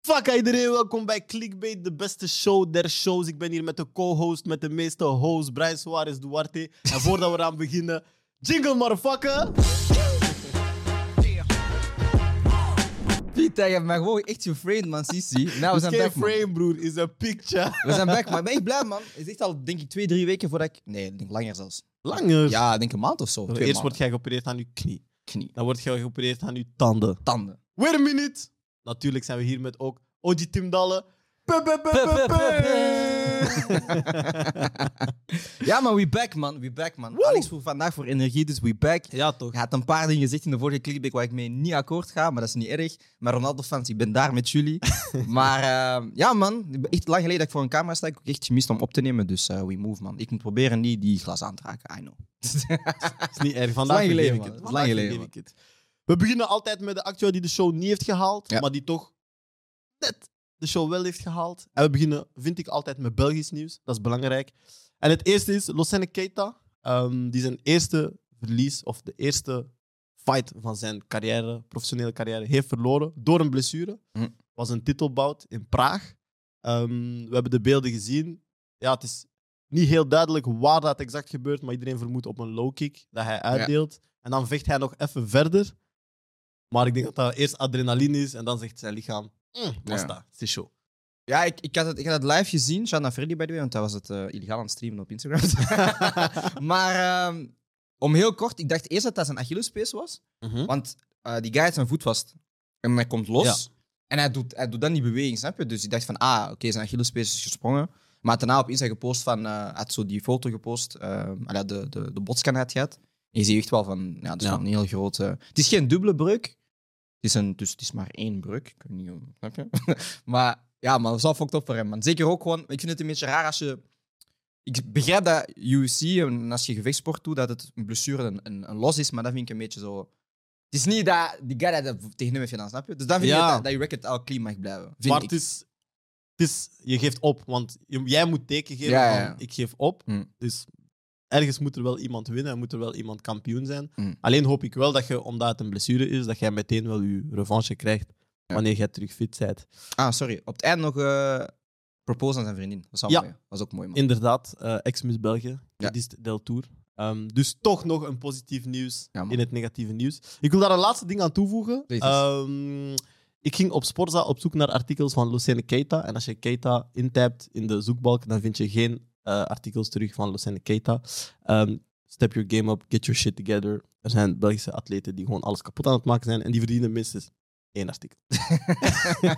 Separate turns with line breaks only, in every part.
Fuck iedereen, welkom bij Clickbait, de beste show der shows. Ik ben hier met de co-host, met de meeste host, Brian Suarez Duarte. En voordat we eraan beginnen, jingle motherfucker!
Piet, je hebt mij gewoon echt geframed, man, Sisi. Nou, we
Is
zijn
Dus geen
back, man.
frame, broer, is een picture.
We zijn back, maar ik ben echt blij, man. Het is echt al, denk ik, twee, drie weken voordat ik... Nee, ik denk langer zelfs.
Langer.
Ja, ik denk een maand of zo. Twee
Eerst
maanden.
word jij geopereerd aan je knie.
Knie,
Dan word jij geopereerd aan je tanden.
tanden.
Wait a minute! Natuurlijk zijn we hier met ook Oji Tim Dalle. Pe, pe, pe,
Pe,
pe,
pe,
pe.
Ja, maar we back, man. We back, man.
Woe!
Alex voor vandaag voor energie, dus we back.
Ja, toch?
Je had een paar dingen gezegd in de vorige clipback waar ik mee niet akkoord ga, maar dat is niet erg. Maar Ronaldo-fans, ik ben daar met jullie. maar eh, ja, man. ik ben Echt lang geleden dat ik voor een camera sta. Ik heb ook echt gemist om op te nemen, dus eh, we move, man. Ik moet proberen niet die glas aan te raken, I know.
is niet erg. Vandaag
Lang
vergeef
geleden,
ik
man.
het.
Lang
Vandaag
geleden,
vergeef ik het. We beginnen altijd met de acteur die de show niet heeft gehaald,
Ja.
maar die toch net de show wel heeft gehaald. En we beginnen, vind ik, altijd met Belgisch nieuws. Dat is belangrijk. En het eerste is Losene Keita. ehm, die zijn eerste verlies, of de eerste fight van zijn carrière, professionele carrière, heeft verloren door een blessure.
Hm.
Was een titelbout in Praag. Ehm, we hebben de beelden gezien. Ja, het is niet heel duidelijk waar dat exact gebeurt, maar iedereen vermoedt op een low kick dat hij uitdeelt. En dan vecht hij nog even verder. Maar ik denk dat dat eerst adrenaline is en dan zegt zijn lichaam: "Mm, was
Ja.
dat? Het is show.
Ja, ik, ik, had het, ik had het live gezien, Shanna Freddy by the way, want hij was het eh, illegaal aan het streamen op Instagram. maar ehm, om heel kort, ik dacht eerst dat dat zijn Achillespees was, want eh, die guy had zijn voet vast. En hij komt los en hij doet, hij doet dan die beweging, snap je? Dus ik dacht van, ah, oké, zijn Achillespees is gesprongen. Maar daarna op Insta gepost van, eh, hij had zo die foto gepost, eh, allee, de, de, de botscan had gehad. En je ziet echt wel van, ja, het is
Ja.
wel een heel grote... Het is geen dubbele breuk, het is, een, dus het is maar één breuk. Ik weet niet hoe... Snap je? maar ja, man, dat is wel fucked up voor hem. Man. Zeker ook gewoon... Ik vind het een beetje raar als je... Ik begrijp dat UFC, en als je gevechtsport doet, dat het een blessure een, een, een los is. Maar dat vind ik een beetje zo... Het is niet dat die guy dat dat tegen hem heeft gedaan, snap je? Dus dan vind
Ja.
ik dat, dat je record al clean mag blijven. Vind
Maar
ik.
het is, het is, je geeft op, want je- jij moet teken geven:
Ja, ja,
van,
ja.
ik geef op.
Hm.
Dus ergens moet er wel iemand winnen en moet er wel iemand kampioen zijn.
Hm.
Alleen hoop ik wel dat je, omdat het een blessure is, dat jij meteen wel je revanche krijgt wanneer jij terug fit bent.
Ah, sorry. Op het eind nog... eh propose aan zijn vriendin. Dat was, wel
Ja.
mooi. was ook mooi, man.
Inderdaad, eh ex-Miss België,
Ja.
dit is Del Tour. Ehm, dus toch nog een positief nieuws
Ja, man.
in het negatieve nieuws. Ik wil daar een laatste ding aan toevoegen.
Deze is-
Ehm, ik ging op Sporza op zoek naar artikels van Lucene Keita. En als je Keita intypt in de zoekbalk, dan vind je geen eh, artikels terug van Lucene Keita. Ehm, step your game up, get your shit together. Er zijn Belgische atleten die gewoon alles kapot aan het maken zijn. En die verdienen minstens één artikel.
Nee,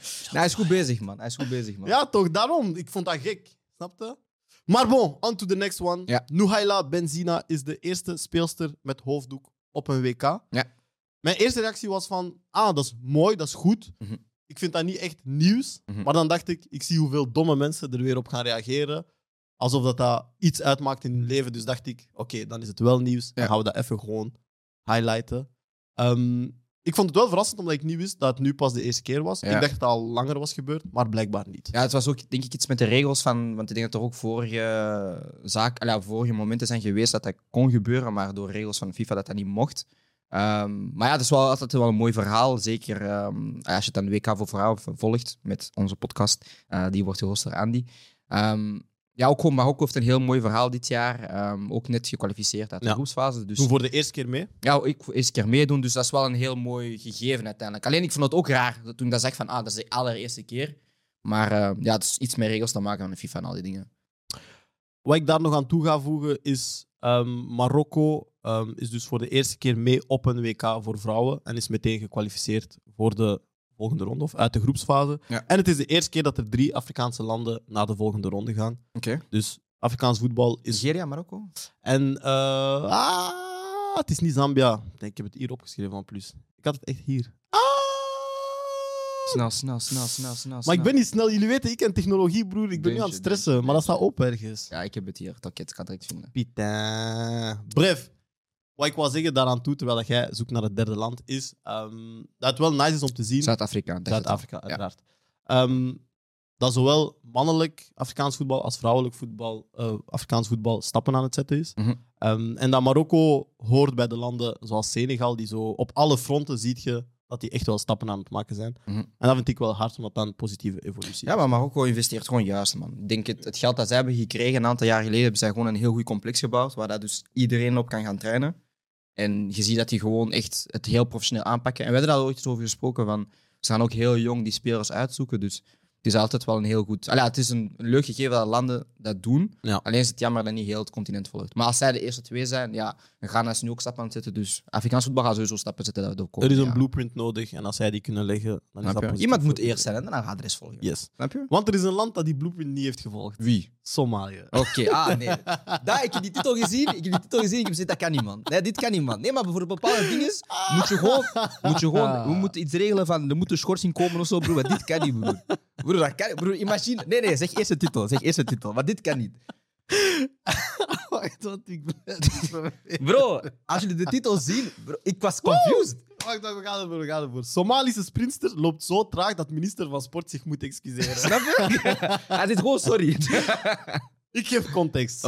Nou, hij is goed bezig, man. Hij is goed bezig, man.
Ja, toch, daarom. Ik vond dat gek. Snapte? Maar bon, on to the next one.
Ja.
Nuhaila Benzina is de eerste speelster met hoofddoek op een WK.
Ja.
Mijn eerste reactie was van, ah, dat is mooi, dat is goed.
Mhm.
Ik vind dat niet echt nieuws.
Mhm.
Maar dan dacht ik, ik zie hoeveel domme mensen er weer op gaan reageren. Alsof dat, dat iets uitmaakt in hun leven. Dus dacht ik, oké, dan is het wel nieuws. Dan
Ja.
gaan we dat even gewoon highlighten. Ehm, ik vond het wel verrassend, omdat ik niet wist dat het nu pas de eerste keer was.
Ja.
Ik dacht dat het al langer was gebeurd, maar blijkbaar niet.
Ja, het was ook denk ik iets met de regels van. Want ik denk dat er ook vorige, zaak, allee, vorige momenten zijn geweest dat dat kon gebeuren, maar door regels van FIFA dat dat niet mocht. Ehm, maar ja, het is wel altijd wel een mooi verhaal. Zeker ehm, als je het dan WK voor Vrouwen volgt met onze podcast. eh, die wordt gehost door Andy. Ehm, ja, ook gewoon Marokko heeft een heel mooi verhaal dit jaar. Ehm, ook net gekwalificeerd uit de
Ja.
groepsfase. Dus
Toen voor de eerste keer mee.
ja, ik eens een keer meedoen, dus dat is wel een heel mooi gegeven uiteindelijk. Alleen ik vond het ook raar dat toen ik dat zag van, ah, dat is de allereerste keer. Maar eh, ja, het is iets meer regels te maken van de FIFA en al die dingen.
Wat ik daar nog aan toe ga voegen is: ehm, Marokko ehm, is dus voor de eerste keer mee op een WK voor vrouwen. En is meteen gekwalificeerd voor de volgende ronde of uit de groepsfase.
Ja.
En het is de eerste keer dat er drie Afrikaanse landen naar de volgende ronde gaan.
Oké.
Dus Afrikaans voetbal is.
Nigeria, Marokko?
En eh, ah, het is niet Zambia. Ik denk, ik heb het hier opgeschreven van plus. Ik had het echt hier. Ah!
Snel, snel, snel, snel, snel.
Maar ik ben niet snel. Jullie weten, ik en technologie, broer. Ik ben nu
Deuntje,
aan het stressen.
deuntje,
Maar dat staat op ergens.
Ja, ik heb het hier. Oké, ik kan het direct vinden.
Pita. Bref, wat ik wou zeggen daaraan toe, terwijl dat jij zoekt naar het derde land, is ehm, dat het wel nice is om te zien.
Zuid-Afrika. dacht het al.
Zuid-Afrika, uiteraard. Ehm, dat zowel mannelijk Afrikaans voetbal als vrouwelijk voetbal, eh, Afrikaans voetbal stappen aan het zetten is.
Mhm.
Ehm, en dat Marokko hoort bij de landen zoals Senegal, die zo op alle fronten ziet je dat die echt wel stappen aan het maken zijn.
Mhm.
En dat vind ik wel hard, omdat dat een positieve evolutie
Ja,
is.
maar Marokko investeert gewoon juist, man. Ik denk het, het geld dat zij hebben gekregen een aantal jaar geleden, hebben zij gewoon een heel goed complex gebouwd, waar dat dus iedereen op kan gaan trainen. En je ziet dat die gewoon echt het heel professioneel aanpakken. En we hebben daar ooit eens over gesproken, van ze gaan ook heel jong die spelers uitzoeken, dus het is altijd wel een heel goed... Allee, het is een, een leuk gegeven dat landen dat doen,
Ja.
alleen is het jammer dat niet heel het continent volgt. Maar als zij de eerste twee zijn, ja, dan gaan ze nu ook stappen aan het zetten, dus Afrikaans voetbal gaat sowieso stappen zetten dat we doorkomen.
er is een
ja.
blueprint nodig en als zij die kunnen leggen, dan is
Snap
dat
je?
positief
Iemand
voor
moet
iedereen.
eerst zijn en dan gaat de rest volgen.
Yes.
Snap je?
Want er is een land dat die blueprint niet heeft gevolgd.
Wie?
Somalië.
Oké, ah nee. Daar, ik heb die titel gezien, ik heb die titel gezien, ik heb gezegd, dat kan niet, man. Nee, dit kan niet, man. Nee, maar voor bepaalde dingen moet je gewoon, moet je
Ah.
gewoon we moeten iets regelen van, er moet een schorsing komen of zo, broer, want dit kan niet, broer. Broer, dat kan niet, broer, imagine. Nee, nee, zeg eerst de titel, zeg eerst de titel, want dit kan niet.
Wacht, want ik ben...
Bro, als jullie de titel zien, bro, ik was confused.
Wacht, wacht, we gaan ervoor, we gaan ervoor. Somalische sprinster loopt zo traag dat minister van Sport zich moet excuseren.
Snap je? Hij zegt gewoon sorry. Oké.
ik geef context.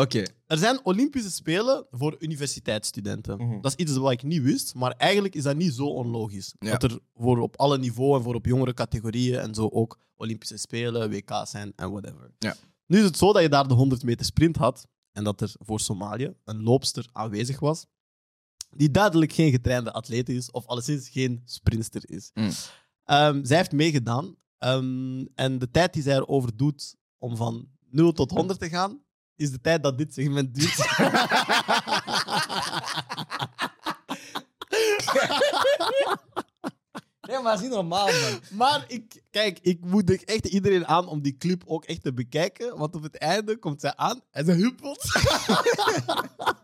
Er zijn Olympische Spelen voor universiteitsstudenten.
Mhm.
Dat is iets wat ik niet wist, maar eigenlijk is dat niet zo onlogisch.
Ja.
Dat er voor op alle niveaus en voor op jongere categorieën en zo ook Olympische Spelen, WK's zijn en whatever.
Ja.
Nu is het zo dat je daar de 100 meter sprint had en dat er voor Somalië een loopster aanwezig was die duidelijk geen getrainde atleet is of alleszins geen sprinster is.
Mm.
Ehm, zij heeft meegedaan ehm, en de tijd die zij erover doet om van 0 tot 100 te gaan, is de tijd dat dit segment duurt.
Nee, maar dat is niet normaal, man.
maar ik, kijk, ik moedig echt iedereen aan om die clip ook echt te bekijken. Want op het einde komt zij aan en ze huppelt.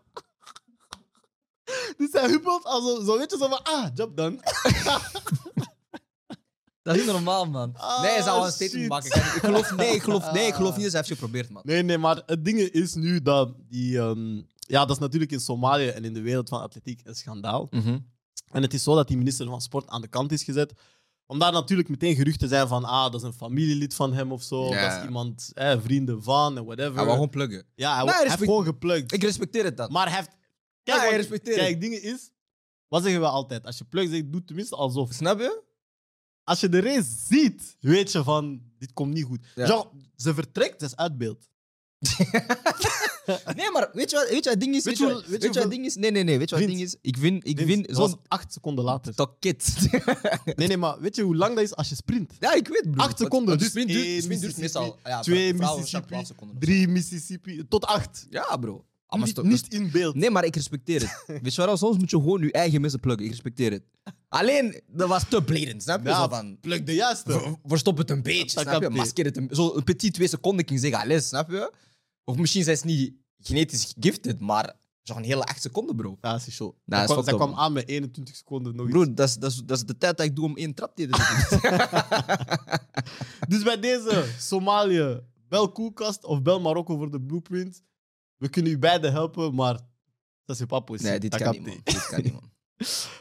dus zij huppelt als zo, zo, weet je, zo van, ah, job done.
Dat is niet normaal, man.
Ah,
nee, hij zou wel een
shit.
statement maken. Kijk, ik geloof, nee, ik geloof, nee, ik geloof niet dat hij heeft geprobeerd, man.
Nee, nee, maar het ding is nu dat die... ehm, ja, dat is natuurlijk in Somalië en in de wereld van atletiek een schandaal. En het is zo dat die minister van Sport aan de kant is gezet. Om daar natuurlijk meteen geruchten te zijn van, ah, dat is een familielid van hem of zo.
Ja.
Dat is iemand, eh, vrienden van en whatever.
Hij wou gewoon pluggen.
Ja, hij,
Nee,
hij heeft
respect-
gewoon geplukt.
Ik respecteer het dan.
Maar hij heeft...
Ja,
Kijk,
hij
wat-
respecteert
kijk, dingen is... Wat zeggen we altijd? Als je plukt, zeg, doe tenminste alsof.
Snap je?
Als je de race ziet, weet je van, dit komt niet goed.
Ja.
Genre, ze vertrekt, dat is uitbeeld.
Nee, maar weet je wat, weet je wat het ding
Weet
is? Weet
je
je
hoe-
wat
weet
weet
je
je wat het
hoeveel-
ding is? Nee, nee, nee. Weet je wat het ding is? Ik win, ik win
Dit was
zo'n
acht seconden later.
toket.
Nee, nee, maar weet je hoe lang dat is als je sprint?
ja, ik weet, broer.
Acht seconden,
Want- want
dus
sprint duurt,
één
sprint duurt
Mississippi,
meestal ja,
twee
voor vrouwen is dat
Mississippi,
12 seconden of zo.
Drie Mississippi, tot acht.
Ja, bro. Ah, maar
niet,
sto-
niet in beeld.
Nee, maar ik respecteer het. Weet je wel, soms moet je gewoon je eigen mensen pluggen. Ik respecteer het. Alleen, dat was te blatant, snap je?
Ja,
Zo van,
pluk de juiste.
Ver- Verstop het een beetje,
Dat
snap je?
kan niet.
Maskeer het een Zo een petit twee seconden kan zeggen, alles, snap je? Of misschien zijn ze niet genetisch gifted, maar zo'n hele acht seconden, bro.
Ja, dat is zo.
Nou, dat is
Zij kwam- zij
fucked up,
kwam aan met 21 seconden nog iets.
Bro, dat is, dat, is, dat is de tijd dat ik doe om één trap te doen.
Dus bij deze, Somalië, bel Koelkast of bel Marokko voor de blueprint. We kunnen u beiden helpen, maar dat is pas possible.
Nee, dit
Dat
kan niet, man.
niet.
Dit kan niet, man.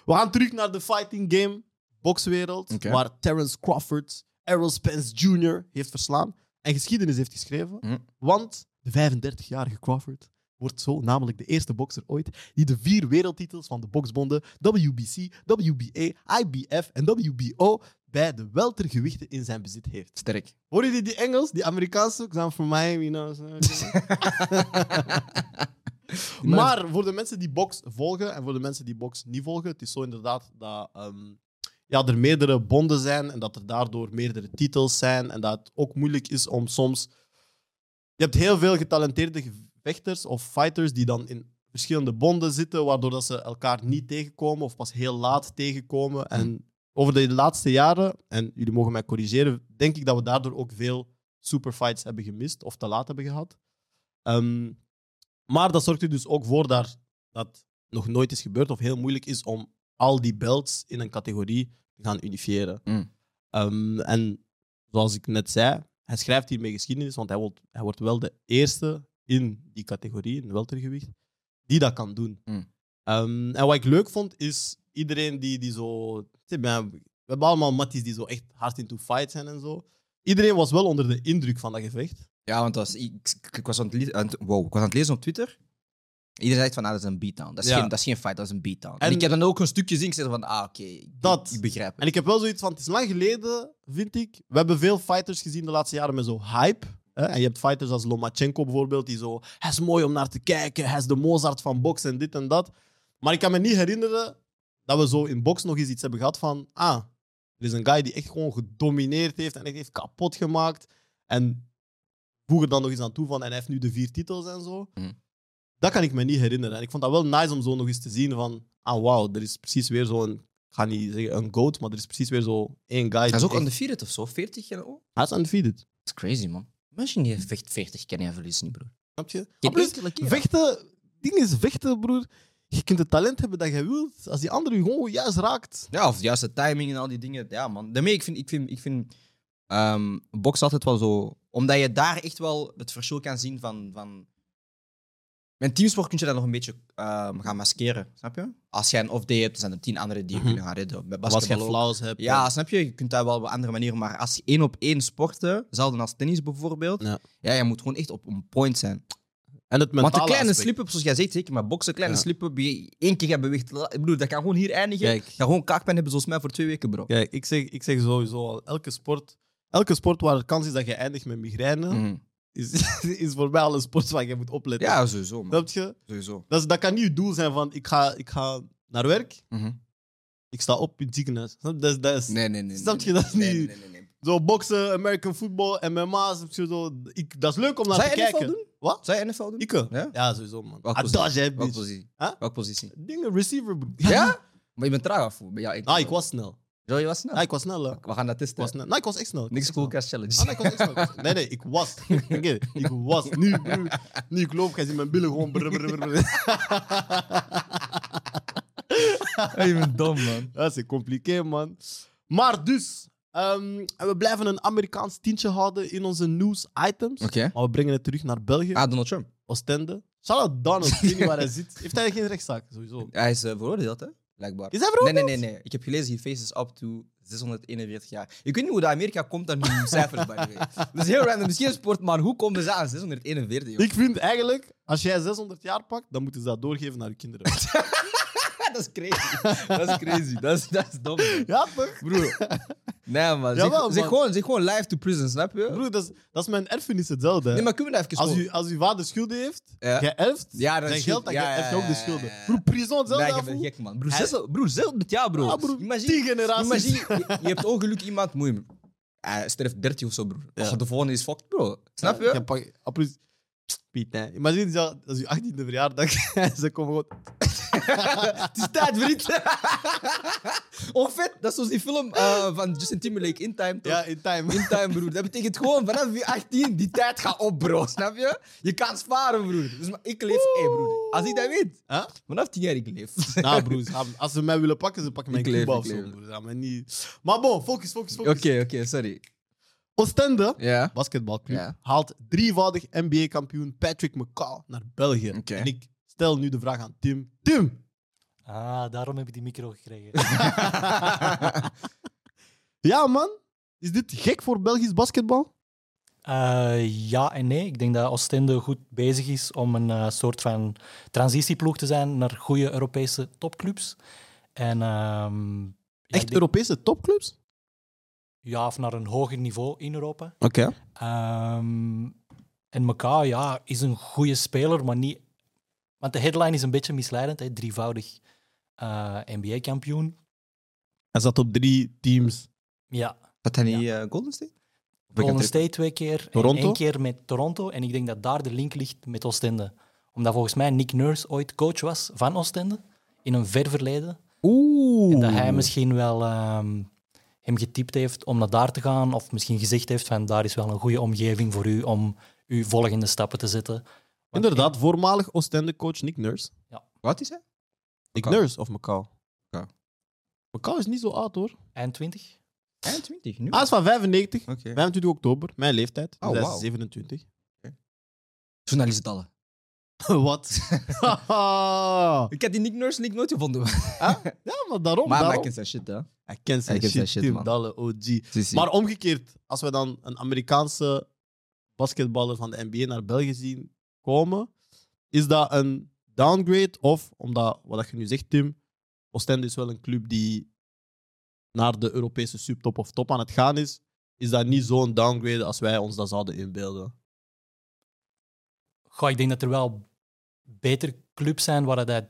We gaan terug naar de fighting game, bokswereld,
Oké.
waar Terence Crawford Errol Spence Jr. heeft verslaan en geschiedenis heeft geschreven.
Mhm.
Want de 35-jarige Crawford wordt zo namelijk de eerste bokser ooit die de vier wereldtitels van de boksbonden WBC, WBA, IBF en WBO bij de weltergewichten in zijn bezit heeft.
Sterk.
Hoor je die- die Engels, die Amerikaanse? Ik zijn voor mij, you know. zo. maar voor de mensen die box volgen en voor de mensen die box niet volgen, het is zo inderdaad dat ehm, ja, er meerdere bonden zijn en dat er daardoor meerdere titels zijn en dat het ook moeilijk is om soms. Je hebt heel veel getalenteerde vechters of fighters die dan in verschillende bonden zitten, waardoor dat ze elkaar niet tegenkomen of pas heel laat tegenkomen. En over de laatste jaren, en jullie mogen mij corrigeren, denk ik dat we daardoor ook veel superfights hebben gemist of te laat hebben gehad. Ehm, maar dat zorgt er dus ook voor daar, dat nog nooit is gebeurd of heel moeilijk is om al die belts in een categorie te gaan unifiëren.
Mm.
Ehm, en zoals ik net zei, hij schrijft hiermee geschiedenis, want hij wordt, hij wordt wel de eerste in die categorie, in het weltergewicht, die dat kan doen.
Mm.
Ehm, en wat ik leuk vond, is iedereen die, die zo... zeg maar, We hebben allemaal matties die zo echt hard into fight zijn en zo. Iedereen was wel onder de indruk van dat gevecht.
Ja, want dat was, ik, ik, ik was aan het le- aan het- wow, ik was aan het lezen op Twitter. Iedereen zegt van, ah, dat is een beatdown. Dat is,
Ja.
geen, dat is geen fight, dat is een beatdown. En,
En-
ik heb dan ook een stukje zien, ik zeg van, ah, oké, ik,
Dat.
ik begrijp het.
En ik heb wel zoiets van, het is lang geleden, vind ik. We hebben veel fighters gezien de laatste jaren met zo hype. Hè? En je hebt fighters als Lomachenko bijvoorbeeld, die zo... Hij is mooi om naar te kijken, hij is de Mozart van box en dit en dat. Maar ik kan me niet herinneren dat we zo in box nog eens iets hebben gehad van... Ah, er is een guy die echt gewoon gedomineerd heeft en echt heeft kapot gemaakt. En voeg er dan nog eens aan toe van... En hij heeft nu de vier titels en zo.
Mhm.
Dat kan ik me niet herinneren. En ik vond dat wel nice om zo nog eens te zien van... Ah, wauw, er is precies weer zo'n ik ga niet zeggen een goat, maar er is precies weer zo één guy.
Hij is
die
ook
echt-
undefeated of zo, 40 en oh.
Hij is undefeated.
Dat is crazy, man. Mensen die vecht 40 kennen en verliezen niet, broer.
Snap je?
Geen
Maar plus,
enkele keer.
vechten, ding is vechten, broer. Je kunt het talent hebben dat je wilt. Als die andere je gewoon juist raakt.
Ja, of juist de timing en al die dingen. Ja, man. Daarmee, ik vind, ik vind, ik vind ehm boksen altijd wel zo... Omdat je daar echt wel het verschil kan zien van... van... Met teamsport kun je dat nog een beetje ehm, gaan maskeren, snap je? Als jij een off-day hebt, zijn er tien anderen die je
Mhm.
kunnen gaan redden. Bij
Als je
basketbal ook.
flaws hebt.
Ja, snap je? Je kunt dat wel op een andere manieren. Maar als je één op één sporten, zelden als tennis bijvoorbeeld,
Ja.
ja. je moet gewoon echt op een point zijn.
En het mentale
Want de kleine
aspect.
slip-ups, zoals jij zegt, zeker maar boksen, kleine
Ja.
slip-up, je- één keer gaat beweegt. la- Ik bedoel, dat kan gewoon hier eindigen.
Kijk.
Dat gewoon kaakpijn hebben, zoals mij, voor twee weken, bro.
Kijk, ik zeg, ik zeg sowieso al, elke sport, elke sport waar de kans is dat je eindigt met migraine,
Mhm.
is, is voor mij al een sport waar je moet opletten.
Ja, sowieso, man.
Snap je?
Sowieso.
Dat, is- dat kan niet je doel zijn van, ik ga, ik ga naar werk,
Mhm.
ik sta op in het ziekenhuis. Snap je? Dat, is- dat is,
Nee, nee, nee.
Snap
nee,
je, dat is
nee,
niet-
Nee, nee, nee. nee.
Zo boksen, American football, MMA, snap je, zo. Ik, dat is leuk om naar
Zou
te
je NFL
kijken.
doen?
Wat?
Zou je NFL doen?
Ikke?
Ja?
Ja, sowieso, man. Ah,
Welke
Adage, hè,
Welke
bitch.
positie?
Huh?
Welke positie?
Dingen, receiver. bro.
Ja? Maar je bent traag af, bij jou.
Ah, ik was snel.
Zo, je was snel.
Ah, ik was snel, hè. Ik
We gaan dat testen.
was snel. Nee, ik was echt snel. Ik was
Niks
echt
cool
snel. Ah,
cast challenge.
nee, ik was echt snel. Ik was- Nee, nee, ik was. Oké, ik was. Nu, nu, nu ik loop, ga je zien mijn billen gewoon... brr, brr, brr, brr. Ah,
je bent dom, man.
Dat is compliqué, man. Maar dus, ehm, we blijven een Amerikaans tientje houden in onze news items.
Oké.
Maar we brengen het terug naar België.
Ah, Donald Trump.
Oostende. Shout-out Donald, ik weet niet waar hij zit. Heeft hij geen rechtszaak, sowieso.
Hij is eh, veroordeeld, hè? Blijkbaar.
Is hij veroordeeld?
Nee, nee, nee, nee. Ik heb gelezen, he faces up to 641 jaar. Ik weet niet hoe dat Amerika komt aan hun cijfers, by the way. Dat is heel random. Misschien sport, maar hoe komen ze aan 641, joh?
Ik vind eigenlijk, als jij 600 jaar pakt, dan moeten ze dat doorgeven naar je kinderen.
dat is crazy. dat is crazy. Dat is, dat is dom, man.
ja, toch?
Broer. Nee, man. Zeg,
Jawel,
zeg
man.
gewoon, zeg gewoon live to prison, snap je?
Broer, dat is, dat is mijn erfenis hetzelfde. hè.
Nee, maar kunnen we dat even
als,
gewoon-
u, als uw vader schulden heeft,
Ja.
jij erft,
Euh, Ja, dan
zijn
is
geld, dan
schuld- ja,
erft je ook de
ja, ja, ja,
schulden.
ja.
Broer, prison
Nee,
hetzelfde
ik ben
afvoer.
gek, man. Broer, zes, broer, zes met jou, bro.
Ja, broer.
Imagine,
Tien generaties.
Imagine, je, je hebt ongeluk iemand, moeim. Hij sterft 30 of zo, broer.
Ja.
Och, de volgende is fucked, bro. Snap
Ja,
je?
jij pakt- ah, broer, Piet, hè. Imagine, dat is je 18e verjaardag en ze komen gewoon...
Het is tijd, vriend. of vet, dat is zoals die film eh, van Justin Timberlake, In Time. toch?
Ja, in time.
In Time, broer. Dat betekent gewoon vanaf je 18 die tijd gaat op, bro. Snap je? Je kan sparen, broer. Dus maar ik leef, hé, broer. Als ik dat weet,
Huh?
vanaf 10 jaar ik leef.
Nou, broer, ze gaan- als ze mij willen pakken, ze pakken mij
Ik
in
leef,
Cuba
ik
of zo.
leef.
broer. Ze gaan mij niet... Maar bon, focus, focus,
Oké,
focus.
oké, sorry.
Oostende
Ja.
basketbalclub
Ja.
haalt drievoudig NBA-kampioen Patrick McCall naar België.
Oké.
En ik stel nu de vraag aan Tim. Tim,
Ah, daarom heb ik die micro gekregen.
ja man, is dit gek voor Belgisch basketbal?
Eh, ja en nee. Ik denk dat Oostende goed bezig is om een eh, soort van transitieploeg te zijn naar goede Europese topclubs. En, ehm, ja,
Echt
ik denk-
Europese topclubs?
Ja, of naar een hoger niveau in Europa.
Oké.
Ehm, en Mekau, ja, is een goede speler, maar niet... Want de headline is een beetje misleidend, hè? drievoudig eh, NBA-kampioen.
Hij zat op drie teams.
Ja,
Had hij niet eh, Golden State? Of ik
Golden
heb
State twee keer. en
Toronto?
één keer met Toronto. En ik denk dat daar de link ligt met Oostende. Omdat volgens mij Nick Nurse ooit coach was van Oostende. In een ver verleden.
Oeh.
En dat hij misschien wel ehm, hem getypt heeft om naar daar te gaan. Of misschien gezegd heeft van daar is wel een goede omgeving voor u om uw volgende stappen te zetten. Want
Inderdaad, voormalig Oostende-coach Nick Nurse.
Wat is hij?
Nick
McCall.
Nurse of McCall?
McCall.
McCall is niet zo oud hoor.
Eind 20?
21 nu.
Hij is van 95,
Oké.
25 oktober, mijn leeftijd. Dus
Oh,
hij is
wauw.
27.
Journalist Dalle.
Wat? ja,
Ik had die Nick Nurse link nooit gevonden.
maar daarom.
maar hij
daarom.
kent zijn shit, hè?
Hij kent zijn
Hij kent
shit,
zijn shit,
Tim
man.
Dalle, OG.
Maar
Maar omgekeerd, als we dan een Amerikaanse basketballer van de NBA naar België zien komen, is dat een downgrade? Of omdat, wat dat je nu zegt, Tim, Oostende is wel een club die naar de Europese subtop of top aan het gaan is. Is dat niet zo'n downgrade als wij ons dat zouden inbeelden?
Goh, ik denk dat er wel beter clubs zijn waar dat hij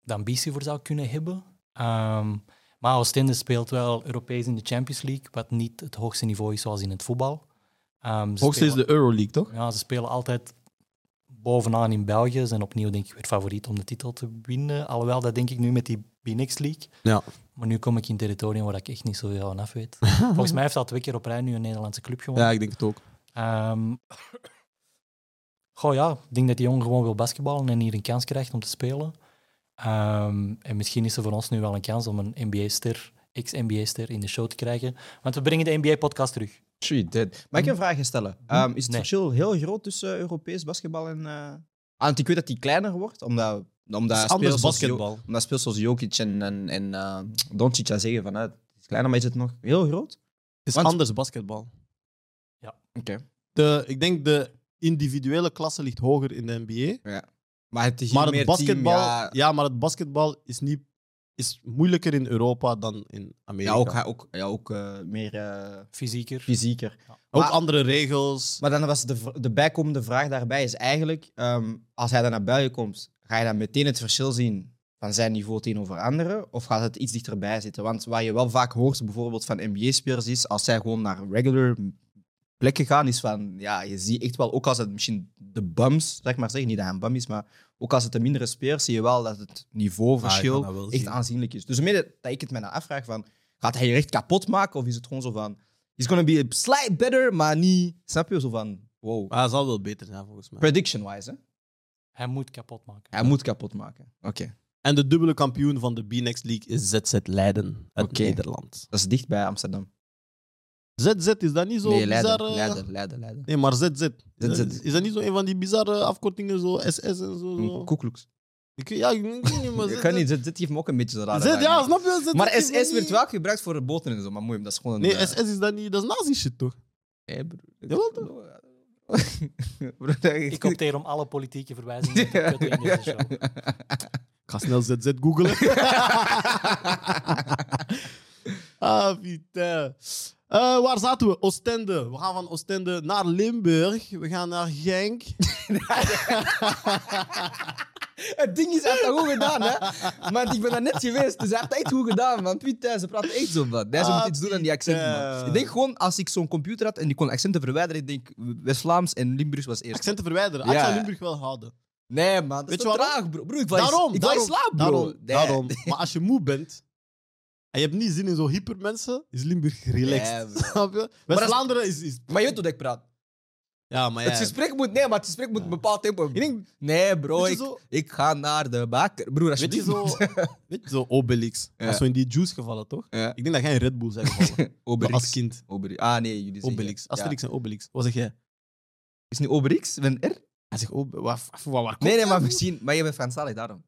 de ambitie voor zou kunnen hebben. Ehm, maar Oostende speelt wel Europees in de Champions League, wat niet het hoogste niveau is zoals in het voetbal. Ehm, ze
Hoogste is
spelen-
de Euroleague, toch?
Ja, ze spelen altijd bovenaan in België. Ze zijn opnieuw, denk ik, weer favoriet om de titel te winnen. Alhoewel, dat denk ik nu met die BNX League.
Ja.
Maar nu kom ik in territorium waar ik echt niet zoveel aan af weet. Volgens mij heeft dat twee keer op rij nu een Nederlandse club gewonnen.
Ja, ik denk het ook.
Ehm, goh ja, ik denk dat die jongen gewoon wil basketballen en hier een kans krijgt om te spelen. Ehm, en misschien is er voor ons nu wel een kans om een NBA-ster, ex-NBA-ster in de show te krijgen. Want we brengen de NBA-podcast terug.
She did. Oh, Mag ik een vraagje stellen? Ehm, is het
Nee.
verschil heel groot tussen Europees basketbal en... eh Want ik weet dat die kleiner wordt, omdat... omdat
Het is
spelers
anders
zoals Jo-
basketbal.
Omdat spelers zoals Jokic en, en, en eh, Doncic dat zeggen van... eh, het is kleiner, maar is het nog heel groot?
Het is
Want-
anders basketbal.
Oké.
De, ik denk de individuele klasse ligt hoger in de NBA.
Maar het is hier
Maar
meer
het, basketbal,
team,
ja.
ja,
maar het basketbal is, niet, is moeilijker in Europa dan in Amerika.
ja, ook, ook, ja, ook eh, meer eh,
Fysieker.
fysieker.
Ook
maar-
andere regels.
Maar dan was de, v- de bijkomende vraag daarbij is eigenlijk... ehm, als hij dan naar België komt, ga je dan meteen het verschil zien van zijn niveau tegenover anderen? Of gaat het iets dichterbij zitten? Want wat je wel vaak hoort bijvoorbeeld van NBA-spelers is... Als zij gewoon naar regular plekken gaan, is van... Ja, je ziet echt wel, ook als het misschien de bums, zeg maar zeggen, niet dat hij een bum is, maar... Ook als het de mindere spelers, zie je wel dat het niveauverschil
Ah, ik kan dat wel
echt
zien.
aanzienlijk is. Dus mede dat ik het mij dan afvraag van... Gaat hij je echt kapot maken? Of is het gewoon zo van... He's gonna be a slight better, maar niet... Snap je? Zo van... Wow.
Maar hij zal wel beter zijn, volgens mij.
Prediction-wise, hè?
Hij moet kapot maken.
Hij moet kapot maken. Oké.
En de dubbele kampioen van de B-Next League is ZZ Leiden uit
Oké.
Nederland.
Dat is dicht bij Amsterdam.
ZZ, is dat niet zo
nee, Leiden,
bizar? eh?
Leiden, Leiden, Leiden.
Nee, maar ZZ. Is,
ZZ.
Dat, is dat niet zo een van die bizarre afkortingen, zo SS en zo? zo?
Koekloeks.
Ik, weet- ja, ik weet niet, maar
Mm, Ik
ZZ
kan niet, dit, dit geeft me ook een beetje zo raar.
ZZ, ja, snap je? ZZ
Maar
is
SS
niet-
werd wel gebruikt voor boten en zo, maar moeim, dat is gewoon een...
Nee,
eh,
SS is dat niet, dat is nazi-shit, toch?
nee, broer.
Jawel,
Broer, dat-
Ik opteer om alle politieke verwijzingen te kutten in deze show.
Ik ga snel ZZ googlen. ah, putain. Eh, waar zaten we? Oostende. We gaan van Oostende naar Limburg. We gaan naar Genk.
Het ding is, hij heeft dat goed gedaan, hè? Maar ik ben daar net geweest, dus hij heeft dat echt goed gedaan, man. Putain, ze praten echt zo, man. Hij ze
Ah,
moet iets doen aan die accenten, man.
Pieter.
Ik denk gewoon, als ik zo'n computer had en die kon accenten verwijderen, ik denk West-Vlaams en Limburgs was eerst.
Accenten verwijderen. Ah, Ik
Ja.
zou Limburg wel houden.
Nee, man, dat
Weet
is
je
te
waarom?
traag, bro. Broer, ik val in-
Daarom,
ik val in
daarom,
slaap, bro.
daarom,
Nee.
daarom. Maar als je moe bent en je hebt niet zin in zo'n hypermensen, is Limburg
Ja,
relaxed.
bro.
Snap je?
dat is-
West-Vlaanderen is, is...
Maar je weet hoe dat ik praat.
Ja, maar
Het
ja.
gesprek moet... Nee, maar het gesprek moet
Ja.
een bepaald tempo hebben.
Ik denk,
Nee, bro,
weet je
ik,
zo,
ik ga naar de bakker. Broer, als je
weet je zo, weet je zo Obelix?
Ja.
Dat is zo in die juice gevallen, toch?
Ja.
Ik denk dat jij in Red Bull bent gevallen.
Obelix.
Als kind.
Obelix. Ah, nee, jullie zeggen...
Obelix.
Ja.
Asterix en Obelix. Wat zeg jij?
Is het niet Obelix? Met een R?
Hij zegt "Oh, Obelix. Waar, waar, waar komt
Nee, nee,
dat,
maar
broer?
misschien... Maar je bent Franstalig, daarom.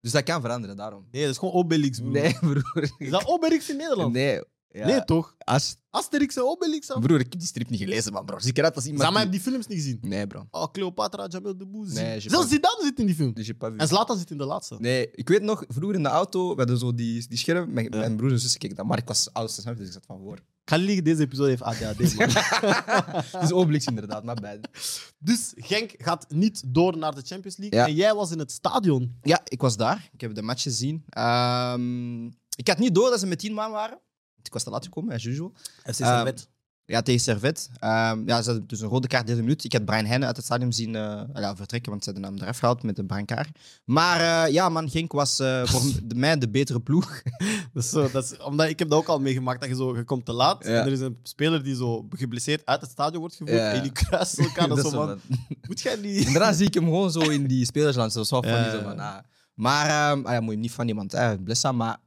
Dus dat kan veranderen, daarom.
Nee, dat is gewoon Obelix, broer.
Nee, broer.
Is dat Obelix in Nederland? Nee,
Nee. Ja.
toch?
Als...
Asterix en Obelix? af.
Broer, ik heb die strip niet gelezen, man, bro. Dus ik had dat als iemand...
Zeg maar, heb
die-
die films niet gezien?
Nee, bro.
Oh, Cleopatra, Jamil Debouz.
Nee, je-
Zelfs Zidane zit in die film.
Dus je hebt pas
En Zlatan zit in de laatste.
Nee, ik weet nog, vroeger in de auto, we hadden zo die, die scherm. Mijn,
Ja.
mijn broer en zus keken dat, maar ik was oudste, snap je? Dus ik zat van voor.
Ik ga niet liegen, deze episode heeft ADHD, man.
Het is Obelix inderdaad, maar bij.
dus Genk gaat niet door naar de Champions League.
Ja.
En jij was in het stadion.
Ja, ik was daar. Ik heb de match gezien. Ehm, ik had niet door dat ze met tien man waren. Want Ik was te laat gekomen, as usual.
FC
Servet. Ja, tegen Servet. Ehm, ja, ze hadden dus een rode kaart deze minuut. Ik had Brian Heijnen uit het stadion zien eh, ja, vertrekken, want ze hadden hem eraf gehaald met een brancard. Maar eh, ja, man, Genk was eh, voor de- mij de betere ploeg.
Dat is zo, dat is, omdat ik heb dat ook al meegemaakt, dat je zo, je komt te laat.
Ja.
En er is een speler die zo geblesseerd uit het stadion wordt gevoerd.
Ja.
En die kruist elkaar. Dat
Dat
is
is
zo
wel
van,
wat.
moet jij niet...
Inderdaad zie ik hem gewoon zo in die spelersland. Zo van,
Ja,
zo
ja.
van ah. Maar ehm, ah ja, moet je niet van iemand blessen. Maar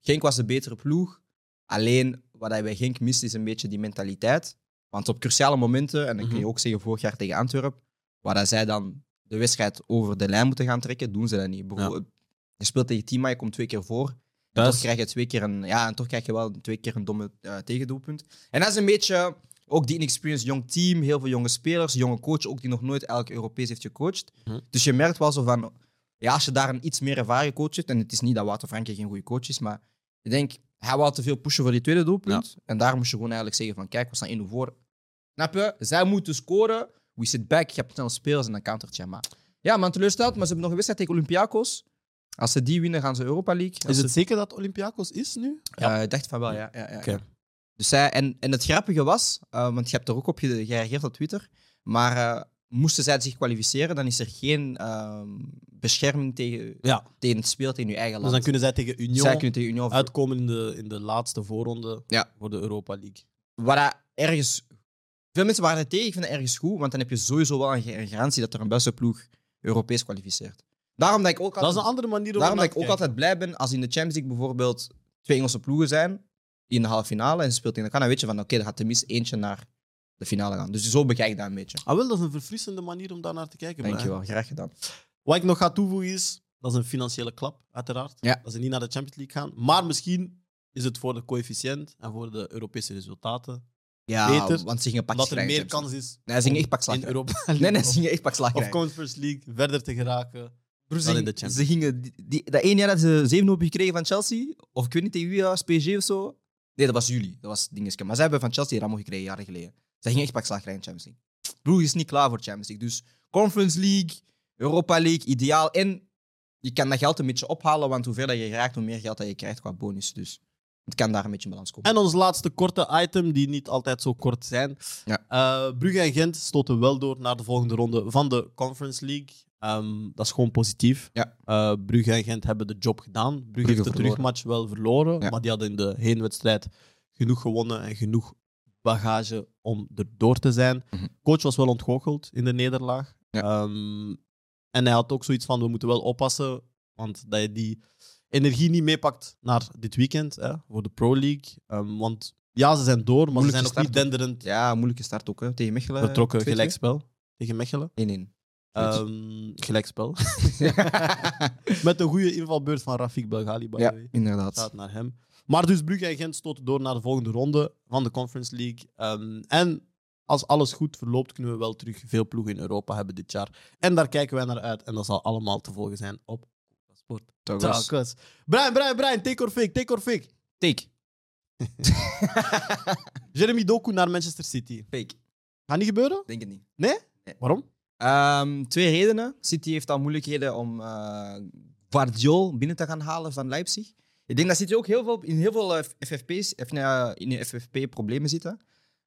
Genk was de betere ploeg. Alleen wat hij bij Genk mist is een beetje die mentaliteit. Want op cruciale momenten, en dat kun je
Mhm.
ook zeggen vorig jaar tegen Antwerpen, waar dat zij dan de wedstrijd over de lijn moeten gaan trekken, doen ze dat niet. Bijvoorbeeld, Je speelt tegen Tima, je komt twee keer voor. En
Thuis.
toch krijg je twee keer een, ja, en toch krijg je wel twee keer een domme eh, tegendoelpunt. En dat is een beetje Ook die inexperienced jong team, heel veel jonge spelers, jonge coach, ook die nog nooit elk Europees heeft gecoacht.
Mhm.
Dus je merkt wel zo van, ja, als je daar een iets meer ervaren coach hebt, en het is niet dat Wouter Franke geen goede coach is, maar ik denk, hij wou te veel pushen voor die tweede doelpunt. En daar moest je gewoon eigenlijk zeggen van, kijk, we staan 1-0 voor. Snap je? Zij moeten scoren, we sit back, je hebt snel spelers en dan countert je. Maar ja, man teleurstelt, maar ze hebben nog een wedstrijd tegen Olympiakos. Als ze die winnen, gaan ze Europa League. Als
Is
ze-
het zeker dat Olympiakos is nu?
Ja.
eh, ik dacht van wel, ja. ja, ja, ja.
Oké.
Dus zij, en, en het grappige was, eh, want je hebt er ook op ge- gereageerd op Twitter, maar eh, moesten zij zich kwalificeren, dan is er geen ehm, bescherming tegen,
Ja.
tegen het speel tegen je eigen
Dus
land.
dan kunnen zij tegen Union
zij kunnen tegen Union
uitkomen in de, in de laatste voorronde
Ja.
voor de Europa League.
Wat dat ergens... Veel mensen waren er tegen, ik vind dat ergens goed, want dan heb je sowieso wel een ge- een garantie dat er een beste ploeg Europees kwalificeert. Daarom dat ik ook
Dat is
altijd,
een andere manier om
daarom dat
ernaar
ik ook
te kijken.
altijd blij ben als in de Champions League bijvoorbeeld twee Engelse ploegen zijn die in de halve finale en ze speelt tegen elkaar, dan weet je van oké, er gaat tenminste eentje naar de finale gaan. Dus zo bekijk ik dat een beetje.
Ah, wel, dat is een verfrissende manier om daar naar te kijken. maar-
Dankjewel, graag gedaan.
Wat ik nog ga toevoegen is, dat is een financiële klap, uiteraard.
Ja.
Dat ze niet naar de Champions League gaan. Maar misschien is het voor de coëfficiënt en voor de Europese resultaten.
Ja,
Beter,
want ze gingen pak
Dat er
krijgen,
meer
James.
kans is
Nee, ze gingen echt pak slag
in
krijgen.
Europa League
Nee, nee,
of-
ze gingen echt pak slag
of
krijgen.
Conference League verder te geraken.
Broer,
dan
ze,
in de Champions
ze gingen die, die- dat één jaar dat ze 7 op gekregen van Chelsea, of ik weet niet tegen wie, was, PSG of zo. Nee, dat was jullie. Dat was dingetje. Maar ze hebben van Chelsea Ramo gekregen jaren geleden. Ze gingen echt pak slag krijgen in Champions League. Broer is niet klaar voor Champions League. Dus Conference League, Europa League, ideaal. En je kan dat geld een beetje ophalen, want hoe verder je raakt, hoe meer geld dat je krijgt qua bonus. Dus het kan daar een beetje in balans komen.
En ons laatste korte item, die niet altijd zo kort zijn.
Ja.
Eh, Brugge en Gent stoten wel door naar de volgende ronde van de Conference League. Ehm, dat is gewoon positief.
Ja.
Eh, Brugge en Gent hebben de job gedaan. Brugge, heeft de
verloren.
terugmatch wel verloren,
Ja.
maar die hadden in de heenwedstrijd genoeg gewonnen en genoeg bagage om erdoor te zijn.
Mhm.
Coach was wel ontgoocheld in de nederlaag.
Ja.
Ehm, en hij had ook zoiets van, we moeten wel oppassen, want dat je die energie niet meepakt naar dit weekend hè, voor de Pro League. Ehm, want ja, ze zijn door, maar
Moeilijke
ze zijn nog
start
niet denderend eh,
Ja, moeilijke start ook, hè. Tegen Mechelen.
betrokken.
2-2?
Gelijkspel tegen Mechelen.
1-1.
Ehm, gelijkspel. Met een goede invalbeurt van Rafik Belghali, by the
ja,
way.
inderdaad.
Shout naar hem. Maar dus Brugge en Gent stoten door naar de volgende ronde van de Conference League. Ehm, en als alles goed verloopt, kunnen we wel terug veel ploegen in Europa hebben dit jaar. En daar kijken wij naar uit. En dat zal allemaal te volgen zijn op Sport.
Togos.
Telkens. Brian, Brian, Brian, take or fake, take or fake.
Take.
Jeremy Doku naar Manchester City.
Fake.
Gaat niet gebeuren?
Denk het niet.
Waarom?
Ehm, twee redenen. City heeft al moeilijkheden om eh Guardiol binnen te gaan halen van Leipzig. Ik denk dat City ook heel veel, in heel veel eh, FFP's, of, eh, in de FFP-problemen zitten.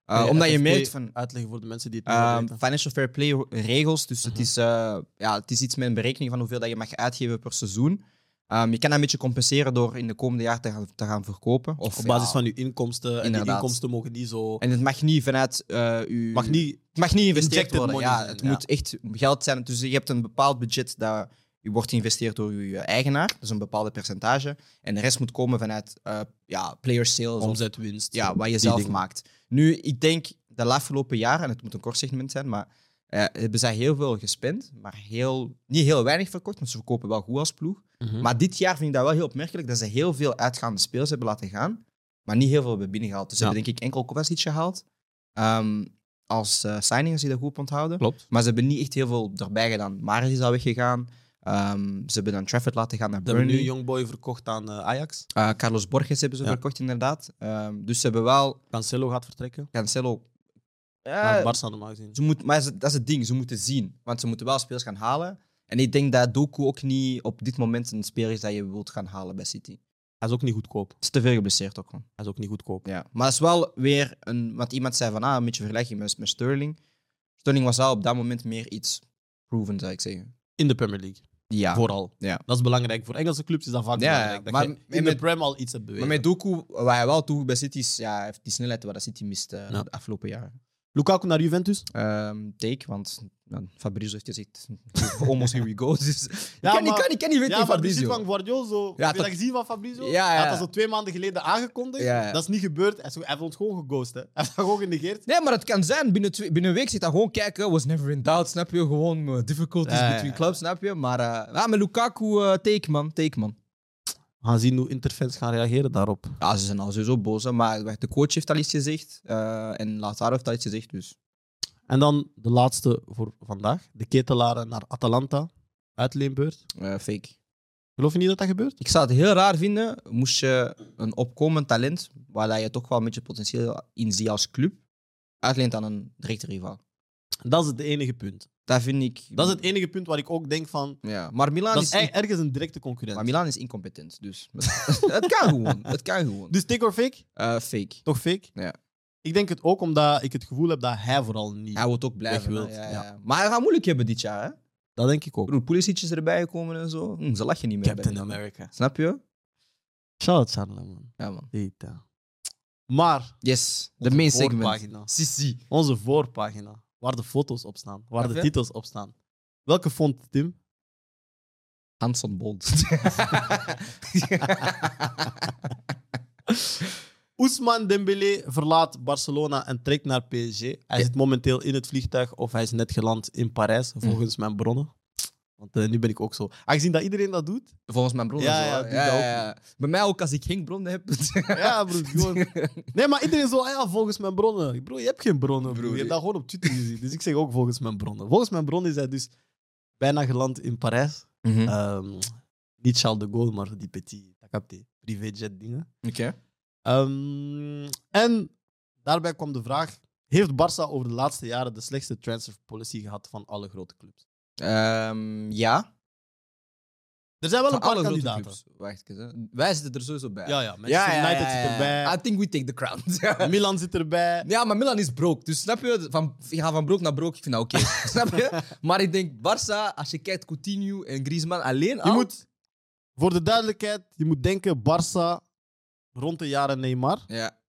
Eh,
Nee,
omdat je
FFP
merkt van
Uitleggen voor de mensen die het niet
ehm,
weten. Mhm.
financial fair play regels. Dus het, is, eh, ja, het is iets met een berekening van hoeveel dat je mag uitgeven per seizoen. Ehm, je kan dat een beetje compenseren door in de komende jaar te gaan, te gaan verkopen. Of,
Op basis
ja,
van uw inkomsten. En die
Inderdaad.
inkomsten mogen niet zo...
En het mag niet vanuit eh uw...
Mag niet...
Het mag niet geïnvesteerd
Injected
worden.
money
Ja,
zijn,
het
ja.
moet echt geld zijn. Dus je hebt een bepaald budget dat je wordt geïnvesteerd door je eigenaar. Dus een bepaalde percentage. En de rest moet komen vanuit eh, ja, player sales. of-
Omzet, winst.
ja, wat je
die
zelf
dingen.
maakt. Nu, ik denk de afgelopen jaren, en het moet een kort segment zijn, maar eh, hebben zij heel veel gespend. Maar heel, niet heel weinig verkocht, want ze verkopen wel goed als ploeg.
Mhm.
Maar dit jaar vind ik dat wel heel opmerkelijk dat ze heel veel uitgaande spelers hebben laten gaan, maar niet heel veel hebben binnengehaald. Dus ze
Ja.
hebben denk ik enkel Kovacic gehaald. Ehm, als eh signing, als je dat goed moet onthouden.
Klopt.
Maar ze hebben niet echt heel veel erbij gedaan. Maris is al weggegaan. Ehm, ze hebben dan Trafford laten gaan naar
Ze hebben nu een
Burnley.
jongboy verkocht aan eh, Ajax.
Eh, Carlos Borges hebben ze
Ja.
verkocht, inderdaad. Ehm, dus ze hebben wel
Cancelo gaat vertrekken.
Cancelo. Eh,
Naar Barca normaal gezien.
ze moet, maar ze- dat is het ding, ze moeten zien. Want ze moeten wel spelers gaan halen. En ik denk dat Doku ook niet op dit moment een speler is dat je wilt gaan halen bij City. Het
Hij is ook niet goedkoop.
is te veel geblesseerd ook gewoon.
Hij is ook niet goedkoop.
Ja. Maar het is wel weer een. Want iemand zei van ah, een beetje vergelijking met, met Sterling. Sterling was al op dat moment meer iets proven, zou ik zeggen.
In de Premier League.
Ja.
Vooral.
Ja.
Dat is belangrijk. Voor Engelse clubs is dat vaak
Ja,
belangrijk.
ja.
Dat
Maar-
je in
met-
de Prem al iets hebt
maar
bewezen.
met Doku, wat hij wel toe bij City is, ja, hij heeft die snelheid waar dat City mist eh,
Ja.
de afgelopen jaren.
Lukaku naar Juventus.
Ehm, take, want ja, Fabrizio heeft gezegd, almost here we go. Dus,
Ja,
ik, kan, niet
maar-
ik, kan, ik kan niet weten
Ja,
van
maar die zit
Fabrizio.
van Guardiola zo.
Ja,
heb je
toch-
dat gezien van Fabrizio?
Ja, ja,
Hij had
ja.
dat zo twee maanden geleden aangekondigd.
Ja, ja.
Dat is niet gebeurd. Hij is- hij heeft ons gewoon geghost. Hè. Hij heeft dat gewoon genegeerd.
Nee, maar het kan zijn. Binnen, twee- binnen een week zit dat gewoon kijken. Was never in doubt, snap je? Gewoon eh, difficulties
Ja, ja,
between
ja.
clubs, snap je? Maar eh, ja, met Lukaku, eh take man, take man.
We gaan zien hoe interfans gaan reageren daarop.
Ja, ze zijn al sowieso boos, hè, maar de coach heeft al iets gezegd eh, en Lazaro heeft al iets gezegd. Dus.
En dan de laatste voor vandaag. De ketelaren naar Atalanta. Uitleenbeurt.
Eh, fake.
Geloof je niet dat dat gebeurt?
Ik zou het heel raar vinden, moest je een opkomend talent, waar dat je toch wel een beetje potentieel in ziet als club, uitleent aan een directe rivaal.
Dat is het enige punt.
Dat vind ik...
Dat is het enige punt waar ik ook denk van...
Ja, maar Milan
Dat
is...
is er- ergens een directe concurrent.
Maar Milan is incompetent, dus... het kan gewoon, het kan gewoon.
Dus take or fake?
Eh, fake.
Toch fake?
Ja.
Ik denk het ook omdat ik het gevoel heb dat hij vooral niet...
Hij wil ook blijven.
Weg wilt,
hè, ja,
ja.
ja. Maar hij gaat moeilijk hebben dit jaar, hè.
Dat denk ik ook.
Broer, Pulisic is erbij gekomen en zo. Hm, ze lachen niet meer.
Captain
bij hem.
America.
Snap je?
Shout-out Charles, man.
Ja, man.
Eita. eh. Maar...
Yes, de
onze
main segment.
voorpagina.
Sissi.
Onze voorpagina. Waar de foto's op staan. Waar
Oké.
de titels op staan. Welke font, Tim?
Hanson Bold.
Ousmane Dembélé verlaat Barcelona en trekt naar PSG. Hij zit momenteel in het vliegtuig of hij is net geland in Parijs,
Mm.
volgens mijn bronnen. Want eh, nu ben ik ook zo. Aangezien dat iedereen dat doet.
Volgens mijn broer.
Ja,
zo,
ja,
hè.
die dat ook.
Bij mij ook als ik geen bronnen heb.
Ja, broer. Gewoon... Nee, maar iedereen zo, ah ja, volgens mijn bronnen. Bro, je hebt geen bronnen, broer. Je
Broer,
hebt
ik-
dat gewoon op Twitter gezien. Dus ik zeg ook volgens mijn bronnen. Volgens mijn bronnen is hij dus bijna geland in Parijs.
Mhm.
Ehm, niet Charles de Gaulle, maar die petit, dat capte, privéjet dingen.
Oké.
Ehm, en daarbij kwam de vraag: heeft Barça over de laatste jaren de slechtste transfer policy gehad van alle grote clubs?
Ehm, ja.
Er zijn wel
Van
een paar
alle grote
kandidaten.
clubs. Wacht eens. hè. Wij zitten er sowieso bij.
Ja, ja. Manchester United zit erbij.
I think we take the crown.
Milan zit erbij.
ja, maar Milan is broke. Dus snap je? Van, je gaat van broke naar broke. Ik vind dat oké. snap je? Maar ik denk, Barça, als je kijkt, Coutinho en Griezmann alleen
Je
al...
moet, voor de duidelijkheid, je moet denken: Barça rond de jaren Neymar.
Ja.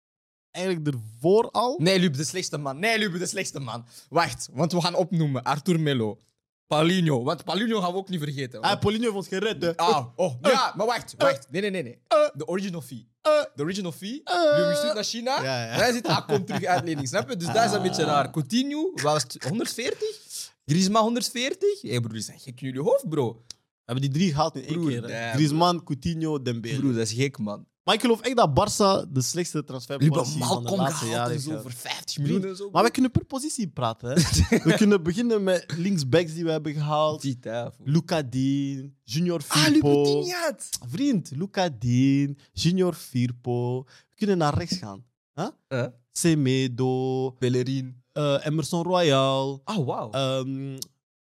Eigenlijk ervoor al.
Nee, Lube, de slechtste man. Nee, Lube, de slechtste man. Wacht, want we gaan opnoemen. Arthur Melo. Paulinho. Want Paulinho gaan we ook niet vergeten.
Ah, Paulinho heeft ons gered. hè.
Ah, oh,
eh,
ja, maar wacht, wacht. Nee, nee, nee. nee. De original fee. De original fee. Nu gestuurd naar China.
Eh. Ja, Ah. ja.
Wij zitten, ah, komt terug uitleiding, snap je? Dus dat is een beetje raar. Coutinho was het 140. Griezmann 140. Hé hey, broer, die zijn gek in jullie hoofd, bro.
We hebben die drie gehaald in één
Broer,
keer. hè.
damn.
Griezmann, Coutinho, Dembele.
Broer, dat is gek, man.
Maar ik geloof echt dat Barça de slechtste
Jullie hebben
transferpolitie van de
Malcolm
laatste jaren
gehaald en
heeft
zo
gehad.
voor 50 miljoen en zo.
Maar we kunnen per positie praten. Hè? we kunnen beginnen met linksbacks die we hebben gehaald.
Ziet, hè, voor-
Luca Dean, Junior
Ah,
Firpo.
Lupetiniat.
Vriend, Luca Dean, Junior Firpo. We kunnen naar rechts gaan.
Huh?
Eh? Semedo,
Bellerin.
eh, Emerson Royal,
Ah, wauw.
ehm,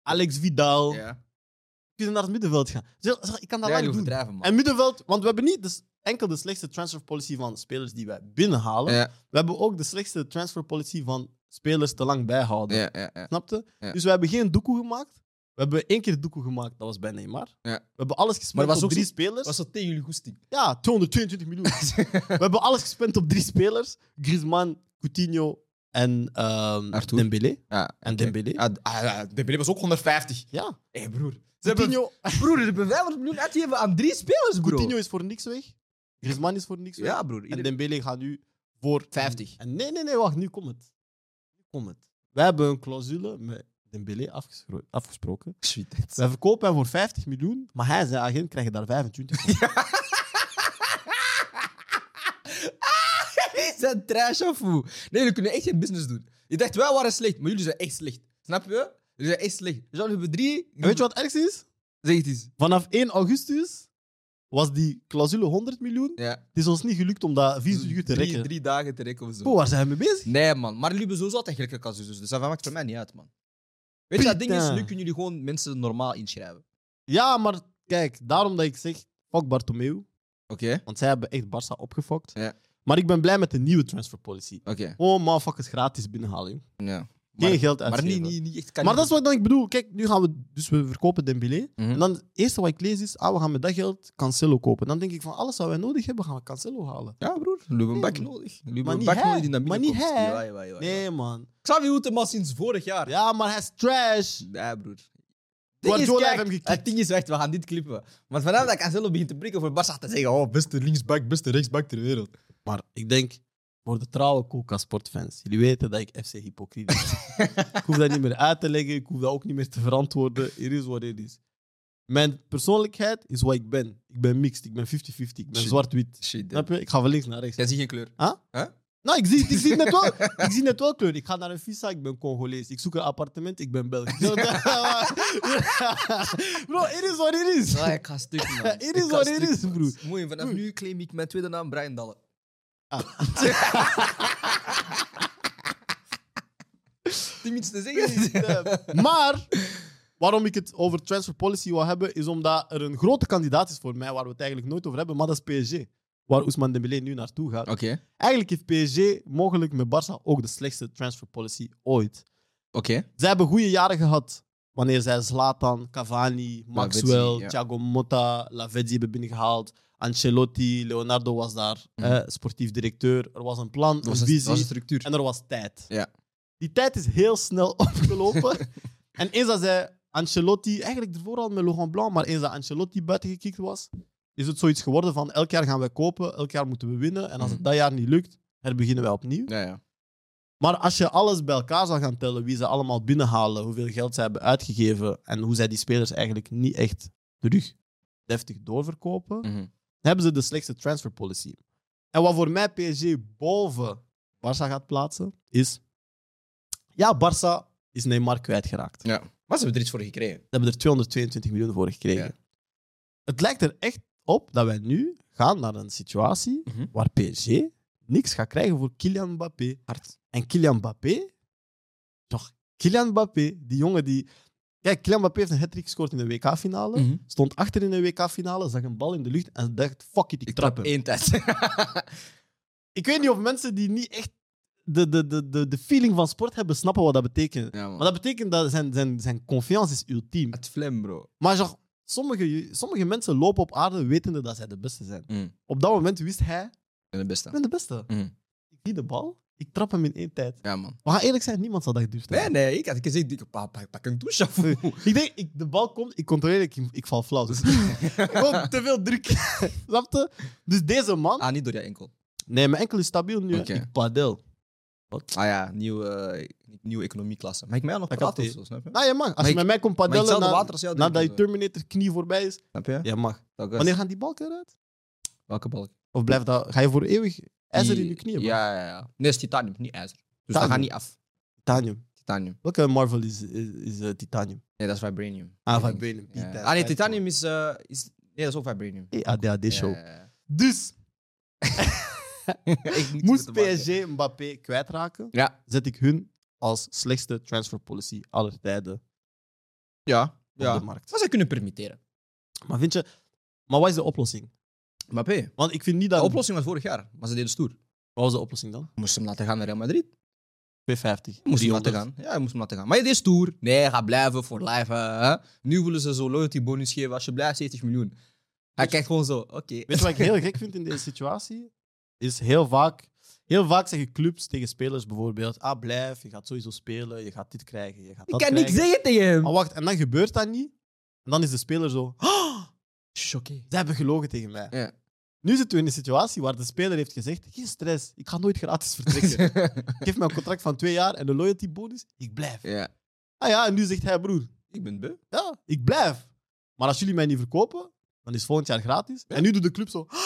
Alex Vidal.
Ja,
We kunnen naar het middenveld gaan. Zeg, zeg, ik kan dat
Ja,
lang
jullie
doen.
overdrijven, man.
En middenveld, want we hebben niet dus enkel de slechtste transfer policy van spelers die wij binnenhalen.
Ja,
We hebben ook de slechtste transfer policy van spelers te lang bijhouden.
ja, ja, ja.
Snapte?
Ja.
Dus we hebben geen doekoe gemaakt. We hebben één keer doekoe gemaakt, dat was bij Neymar.
Ja.
We hebben alles
Maar
gespend
was
op
ook
drie
zo-
spelers.
Was dat tegen jullie goesting?
Ja, 222 miljoen. we hebben alles gespend op drie spelers. Griezmann, Coutinho en ehm
Arthur.
Dembélé.
Ja,
En
oké.
Dembélé.
Ah, d- ah, ja, Dembélé was ook 150.
Ja,
Hé, broer. Ze hebben,
Coutinho,
broer, ze hebben 500 miljoen uitgegeven aan drie spelers, bro.
Coutinho is voor niks weg. Griezmann is voor niks weg.
Ja, broer.
en
iedereen-
Dembélé gaat nu voor...
50.
En nee, nee, nee, wacht. Nu komt het. Nu komt het. Wij hebben een clausule met Dembélé afgespro- afgesproken. Wij verkopen hem voor 50 miljoen, maar hij en zijn agent krijgen daar 25
Jullie zijn trash of hoe? Nee, jullie kunnen echt geen business doen. Je dacht, wij waren slecht, maar jullie zijn echt slecht. Snap je? Jullie zijn echt slecht. Dus jullie hebben drie...
En weet je wat het ergste is?
Zeg het eens.
Vanaf 1 augustus was die clausule 100 miljoen.
Ja.
Het is ons niet gelukt om dat 24 uur te
Drie-
rekken.
Drie dagen te rekken of zo.
Bro, waar zijn we mee bezig?
Nee, man. Maar jullie hebben sowieso altijd gelijke casus. Dus dat maakt voor mij niet uit, man. Weet je, dat ding is, nu
Pita.
kunnen jullie gewoon mensen normaal inschrijven.
Ja, maar kijk, daarom dat ik zeg, fuck Bartomeu.
Oké?
Want zij hebben echt Barça opgefokt.
Ja.
Maar ik ben blij met de nieuwe transfer policy.
Oké.
Oh, motherfuckers, gratis binnenhalen. joh.
Ja.
Geen
Maar-
geld
Maar
uitgeven.
niet, niet, niet echt kan
Maar dat is wat dan ik bedoel. Kijk, nu gaan we... Dus we verkopen Dembélé.
Mhm.
En dan het eerste wat ik lees is... Ah, we gaan met dat geld Cancelo kopen. Dan denk ik van... Alles wat wij nodig hebben, gaan we Cancelo halen.
Ja, broer. Ruben Bak
Nee, man.
nodig. Ruben
Maar niet
Bak
hij.
nodig die naar
Maar
binnen
niet
komt.
hij.
Jawel, jawel, jawel.
Nee, man.
Xavi Hoeteman sinds vorig jaar.
Ja, maar hij is trash.
Nee, broer. Ding is,
Guardiola
kijk,
heeft hem geknipt.
Het ding is echt, we gaan dit klippen. Want vanaf dat Cancelo begint te prikken voor Barca te zeggen: oh, beste linksback, beste rechtsback ter wereld.
Maar ik denk, voor de trouwe Coca Sportfans, jullie weten dat ik FC hypocriet ben. ik hoef dat niet meer uit te leggen, ik hoef dat ook niet meer te verantwoorden. It is what it is. Mijn persoonlijkheid is wat ik ben. Ik ben mixed, ik ben 50-50, ik ben
Shit.
zwart-wit.
Shit.
Snap je? Ik ga van links naar rechts.
Jij ziet geen kleur.
Nou, ik zie, ik, zie net wel, ik zie net wel kleur. Ik ga naar een visa, ik ben Congolees. Ik zoek een appartement, ik ben Belg. Zo, dat- Bro, it is what it is.
Ja, Ah, ik ga stuk, man.
It is
Ik ga
what it
stuk,
is,
man.
broer.
Mooi, vanaf nu claim ik mijn tweede naam Brian Dalle. Ah. Tim iets te zeggen?
Maar waarom ik het over transfer policy wil hebben, is omdat er een grote kandidaat is voor mij waar we het eigenlijk nooit over hebben, maar dat is PSG. Waar Ousmane Dembélé nu naartoe gaat.
Oké,
Eigenlijk heeft PSG mogelijk met Barça ook de slechtste transfer policy ooit.
oké.
Zij hebben goede jaren gehad. Wanneer zij Zlatan, Cavani, Maxwell,
ja.
Thiago Motta, Lavezzi hebben binnengehaald. Ancelotti, Leonardo was daar
Mhm.
eh, sportief directeur. Er was een plan,
Dat was
een
een- dat
visie
was een structuur.
en er was tijd.
Ja.
Die tijd is heel snel opgelopen. en eens dat zij Ancelotti, eigenlijk ervoor al met Laurent Blanc, maar eens dat Ancelotti buitengekikt was, is het zoiets geworden van elk jaar gaan wij kopen, elk jaar moeten we winnen. En als het
Mhm.
dat jaar niet lukt, herbeginnen wij opnieuw.
Ja, ja.
Maar als je alles bij elkaar zou gaan tellen, wie ze allemaal binnenhalen, hoeveel geld ze hebben uitgegeven en hoe zij die spelers eigenlijk niet echt terug deftig doorverkopen,
Mhm.
hebben ze de slechtste transfer policy. En wat voor mij PSG boven Barça gaat plaatsen, is... Ja, Barça is Neymar kwijtgeraakt.
Ja. Maar ze hebben er iets voor gekregen.
Ze hebben er 222 miljoen voor gekregen.
Ja.
Het lijkt er echt op dat wij nu gaan naar een situatie
Mhm.
waar PSG niks gaat krijgen voor Kylian Mbappé.
Hard.
En Kylian Mbappé, toch? Kylian Mbappé, die jongen die. Kijk, Kylian Mbappé heeft een hat gescoord in de WK-finale.
Mhm.
Stond achter in de WK-finale, zag een bal in de lucht en dacht: fuck it, ik,
Ik
trap
trap
hem.
één tijd.
Ik weet niet of mensen die niet echt de, de, de, de, de feeling van sport hebben, snappen wat dat betekent.
ja, man.
Maar dat betekent dat zijn, zijn, zijn confiance is ultiem.
Het flem, bro.
Maar genre, sommige, sommige mensen lopen op aarde wetende dat zij de beste zijn.
Mm.
Op dat moment wist hij:
En de
ik
beste.
ben de beste.
Mhm.
Ik zie de bal, ik trap hem in één tijd.
Ja, man.
We gaan eerlijk zijn, niemand zal dat durven.
Nee, nee, ik had gezegd, ik pak, pak, pak een douche af.
Ik denk, ik, de bal komt, ik controleer, ik, ik val flauw. Dus gewoon te veel druk. Snap je? Dus deze man...
Ah, niet door je enkel.
Nee, mijn enkel is stabiel nu. hè.
Oké.
Ik padel.
Ah ja, nieuwe, eh, nieuwe economieklasse. Maar ik mij nog
Dat
praten
kan
of zo, snap je?
Nou, je mag. Als
Maar
je
ik-
met mij komt
Maar
padellen
hetzelfde
na,
water als jou
nadat je
drinken,
Terminator knie voorbij is,
Snap je?
je mag.
Dat is-
Wanneer gaan die balken eruit?
Welke balk?
Of blijft dat... Ga je voor eeuwig ijzer in
Die-
je knieën? man?
Ja, ja, ja. Nee, het is titanium, niet ijzer. Dus dat
Titanium.
gaat niet af.
Titanium.
Titanium.
Welke Marvel is, is, is, eh, titanium?
Nee, dat is vibranium.
Ah,
Ik denk-
vibranium.
Ja.
Die tijd.
Ah nee, titanium is, eh, is... Nee, dat is ook vibranium.
Eh, ADHD-show.
Ja, ja, ja.
Dus,
Ik moet
moest
het maken.
PSG Mbappé kwijtraken,
Ja.
zet ik hun als slechtste transfer policy aller tijden
Ja.
op de
ja.
markt.
Maar zij kunnen permitteren.
Maar vind je... Maar wat is de oplossing?
Maar P,
Want ik vind niet dat...
Eh, de oplossing was vorig jaar, maar ze deden stoer.
Wat was de oplossing dan?
Moesten hem laten gaan naar Real Madrid.
250.
Moest hem laten
300.
gaan. Ja, hij moest hem laten gaan. Maar je deed stoer. Nee, hij gaat blijven voor life. hè, hè. Nu willen ze zo loyalty bonus geven als je blijft 70 miljoen. Hij kijkt gewoon zo, oké.
Weet je wat ik heel gek vind in deze situatie? Is heel vaak... Heel vaak zeggen clubs tegen spelers bijvoorbeeld... Ah, blijf, je gaat sowieso spelen, je gaat dit krijgen, je gaat
Ik
dat
kan niks
krijgen.
zeggen tegen hem.
Maar wacht, en dan gebeurt dat niet. En dan is de speler zo... "Ah,
Choqué.
Ze hebben gelogen tegen mij.
Ja.
Nu zitten we in een situatie waar de speler heeft gezegd... Geen stress, ik ga nooit gratis vertrekken. Geef mij een contract van twee jaar en een loyalty bonus. Ik blijf.
ja.
Ah ja, en nu zegt hij, broer,
Ik ben beu.
Ja, ik blijf. Maar als jullie mij niet verkopen, dan is volgend jaar gratis. En nu doet de club zo. "Ah,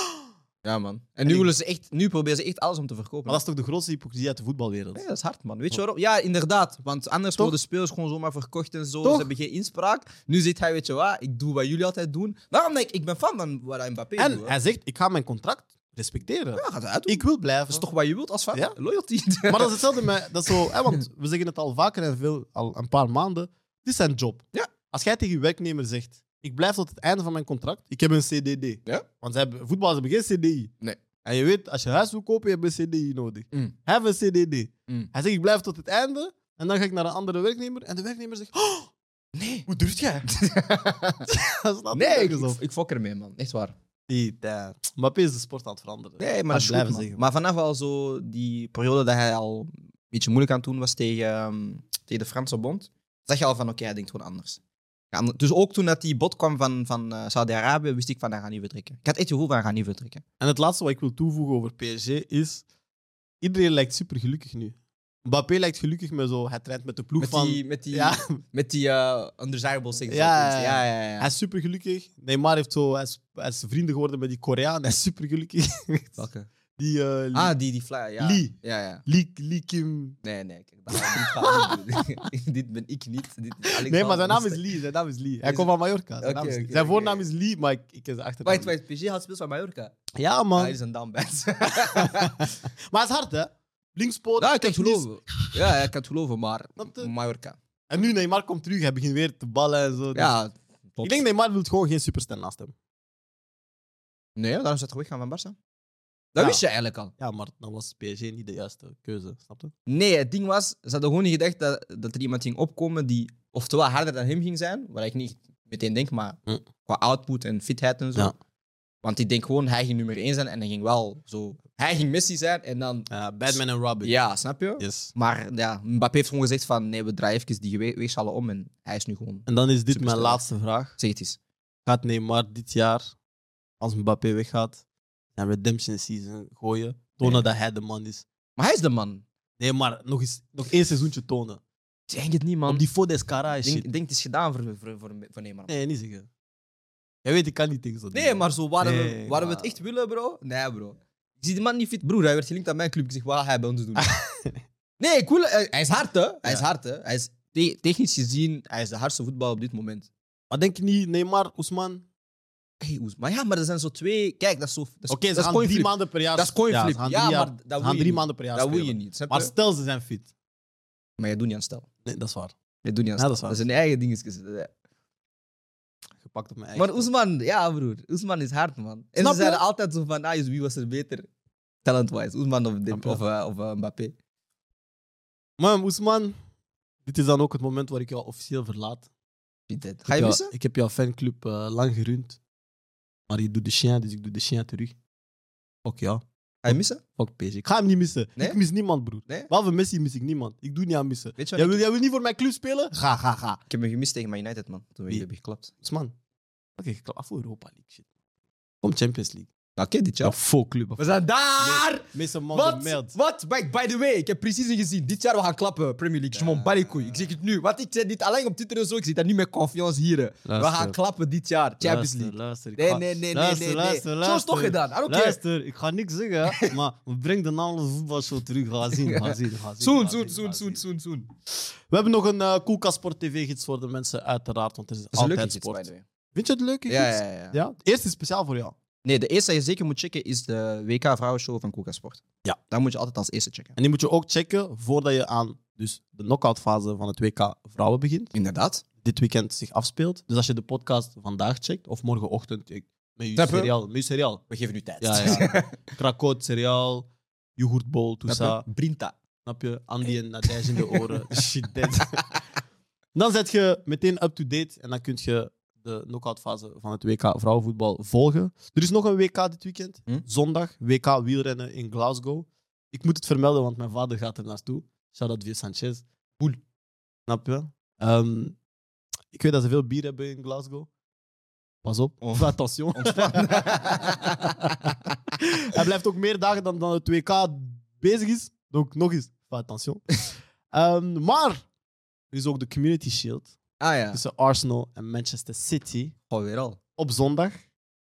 Ja, man. En
En
nu,
ik-
willen ze echt, nu proberen ze echt alles om te verkopen.
Maar dat is toch de grootste hypocrisie uit de voetbalwereld?
Nee, dat is hard, man. Weet je waarom? Ja, inderdaad. Want anders
Toch?
worden spelers gewoon zomaar verkocht en zo.
Toch?
Ze hebben geen inspraak. Nu zit hij, weet je wat, ik doe wat jullie altijd doen. Daarom denk ik, ik ben fan van wat hij Mbappé
En
doet. hè.
hij zegt, ik ga mijn contract respecteren.
Ja, gaat hij uitdoen.
Ik wil blijven.
Dat is toch wat je wilt als fan?
Ja.
Loyalty.
Maar dat is hetzelfde met... Dat is zo, hè, want we zeggen het al vaker en veel, al een paar maanden. Dit is zijn job.
Ja.
Als jij tegen je werknemer zegt, ik blijf tot het einde van mijn contract, ik heb een CDD.
Ja.
Want zij hebben, voetballers hebben geen CDI.
Nee.
En je weet, als je huis wil kopen, heb je hebt een CDI nodig.
Mm.
Hij heeft een CDD.
Mm.
Hij zegt, ik blijf tot het einde. En dan ga ik naar een andere werknemer. En de werknemer zegt, oh,
Nee.
Hoe durft jij? dat slaat
Nee, ik,
nergens op.
ik, ik fok ermee, man. Echt waar.
Die tijd. Mbappé is de sport aan het veranderen.
Nee, maar
Aan
dat
het
is goed,
blijven
man.
zeggen.
Maar vanaf al zo die periode dat hij al een beetje moeilijk aan het doen was tegen, ehm, tegen de Franse bond, zag je al van, oké, hij denkt gewoon anders. Ja, ander- dus ook toen dat die bod kwam van, van eh, Saudi-Arabië, wist ik van, hij gaat niet vertrekken. Ik had echt het gevoel van, hij gaat niet vertrekken.
En het laatste wat ik wil toevoegen over PSG is... Iedereen lijkt super gelukkig nu. Mbappé lijkt gelukkig me zo. Hij traint met de ploeg
Met
van.
die, met die,
Ja.
met die eh, undesirable things.
Ja,
ja, ja. ja,
Hij is super gelukkig. Neymar heeft zo, hij, is, hij is vrienden geworden met die Koreaan. Hij is super gelukkig.
Welke?
Die eh, Lee,
Ah, die, die flyer. Ja.
Lee.
Ja, ja.
Lee, Lee Kim.
Nee, nee. Kijk, dat ga ik niet gaan doen. dit ben ik niet. Dit is Alex
Nee, maar zijn naam is
Lee.
Lee. Zijn naam is Lee. Hij
Is-
komt van Mallorca. Zijn,
Oké,
naam is Lee.
oké,
Zijn
oké.
voornaam is Lee, maar ik, ik ken zijn achternaam.
Wait, wait. PG had speels van Mallorca.
niet. Ja, man.
Ah, is een downbad.
Maar hij is hard, hè? Linkspoot.
Ja, ik kan het
Oh, technisch. eh,
geloven. Ja, ik kan het geloven, maar
Snap je?
Mallorca.
En nu Neymar komt terug. Hij begint weer te ballen en zo. Dus
Ja,
Ik denk Neymar wil gewoon geen superster naast hem.
nee, daarom zou het weggaan van Barça. Dat
Ja.
wist je eigenlijk al.
Ja, maar dan was PSG niet de juiste keuze. Snap je?
Nee, het ding was, ze hadden gewoon niet gedacht dat, dat er iemand ging opkomen die oftewel harder dan hem ging zijn, waar ik niet meteen denk, maar
Hm.
qua output en fitheid en zo.
Ja.
Want ik denk gewoon, hij ging nummer 1 zijn en hij ging wel zo... Hij ging Messi zijn en dan...
Eh, Batman en Robin.
Ja, snap je?
Yes.
Maar ja, Mbappé heeft gewoon gezegd van, nee, we draaien even die we- weegschaal om en hij is nu gewoon...
En dan is dit
Superster.
mijn laatste vraag.
Zeg het eens.
Gaat Neymar dit jaar, als Mbappé weggaat, naar redemption season gooien? Tonen
Nee.
dat hij de man is.
Maar hij is de man.
Nee, maar nog, eens, nog één seizoentje tonen.
Ik Denk het niet, man.
Op die Fodes Cara
Ik
shit.
denk, ik denk het is gedaan voor, voor, voor, voor Neymar.
Nee, niet zeggen. Jij weet, ik kan niet tegen zo'n
Nee,
dingen.
maar zo waren,
Nee,
we, waren we
maar-
het echt willen, bro? Nee, bro. Ik zie die man niet fit. Broer, hij werd gelinkt aan mijn club. Ik zeg, wat gaat hij bij ons doen? nee, ik wil... eh, Hij hij is hard, hè. Hij is
Ja.
hard, hè. Hij is te- technisch gezien, hij is de hardste voetbal op dit moment.
Maar denk je niet, Neymar, Oesman?
Hey, Oes- maar ja, maar er zijn zo twee... Kijk, dat is zo... dat is-
Oké, ze
dat is
gaan
coin
drie
flip.
maanden per jaar.
Dat is coin
Ja,
flip.
ze
Ja,
gaan drie, jaar-
maar
ze
dat
gaan
wil je
drie
niet.
maanden per jaar
Dat wil je
spelen.
niet, snap
Maar
je?
stel, ze zijn fit.
Maar je doet niet aan stel.
Nee, dat is waar.
Je doet niet
Ja,
aan stel.
dat is
dat,
waar.
zijn eigen dingetjes. Ja.
Gepakt op mijn eigen.
Maar Oesman, ja, broer. Oesman is hard, man. En
Snap
ze
je?
zeiden altijd zo van, ah, wie was er beter? Talent-wise. Oesman of,
Snap
Dem-
je?
of, eh, of eh, Mbappé.
Maar Oesman, dit is dan ook het moment waar ik jou officieel verlaat.
Wie dit?
Ik
Ga je
heb jou-
missen?
Ik heb jouw fanclub eh, lang gerund. Maar je doet de chien, dus ik doe de chien terug. Fuck ja,
Ga je missen?
fuck PSG. Ik ga hem niet missen.
Nee?
Ik mis niemand, broer.
Nee?
Behalve Messi mis ik niemand. Ik doe niet aan missen.
Weet je wat
Jij wil, jij wil niet voor mijn club spelen? Ga, ga, ga.
Ik heb hem gemist tegen Man United, man. Toen we
Wie?
jullie hebben geklapt.
Oesman, pak je klaar voor Europa League. Shit. Kom Champions League.
Oké, dit
Ja, faux club.
We zijn daar!
Meeste man de
Wat?
meld.
Wat? By, by the way, ik heb precies gezien. Dit jaar we gaan klappen, Premier League. Shimon Barikoui. Ik zeg het nu. Want ik zei dit alleen op Twitter en zo. Ik zit daar niet met confiance hier. hè. We gaan klappen dit jaar, Champions League.
Luister, ik
Nee,
ga-
nee, nee, nee,
luister,
nee, nee.
luister,
Zo is
luister.
toch gedaan. Ah, I don't care.
Luister, ik ga niks zeggen, hè, maar breng de naam van de voetbalshow terug. Ga zien, ga zien, ga zien.
Soon,
ga zien,
soon, soon,
ga
soon,
zien.
soon, soon.
We hebben nog een eh Koelkast Sport TV-gids voor de mensen, uiteraard, want er is,
Dat is een
altijd
leuke gids,
sport.
by the way.
Vind je het leuke
Ja,
gids?
ja, ja, ja.
Ja? Het eerste is speciaal voor jou.
Nee, de eerste die je zeker moet checken is de WK Vrouwenshow van Koeka Sport.
Ja.
Dat moet je altijd als eerste checken.
En die moet je ook checken voordat je aan dus de knock-outfase van het WK Vrouwen begint.
Inderdaad.
dit weekend zich afspeelt. Dus als je de podcast vandaag checkt, of morgenochtend, ik- met je
Snap je?
seriaal. Met je seriaal.
We geven nu tijd.
Ja, ja. Krakot, seriaal, yoghurtbol,
Snap
toesa.
je? Brinta.
Snap je? Andy en Nadège in de oren. Shit, dead. Dan zet je meteen up-to-date en dan kun je de knock-outfase van het WK vrouwenvoetbal volgen. Er is nog een WK dit weekend.
Hm?
Zondag, WK wielrennen in Glasgow. Ik moet het vermelden, want mijn vader gaat er naartoe. Shout-out via Sanchez. Boel. Snap je? Ehm, ik weet dat ze veel bier hebben in Glasgow. Pas op.
Oh.
Attention. Hij blijft ook meer dagen dan, dan het WK bezig is. Donc nog eens, fais attention. Ehm, maar er is ook de Community Shield
ah ja.
tussen Arsenal en Manchester City
Gewoon weer al.
op zondag.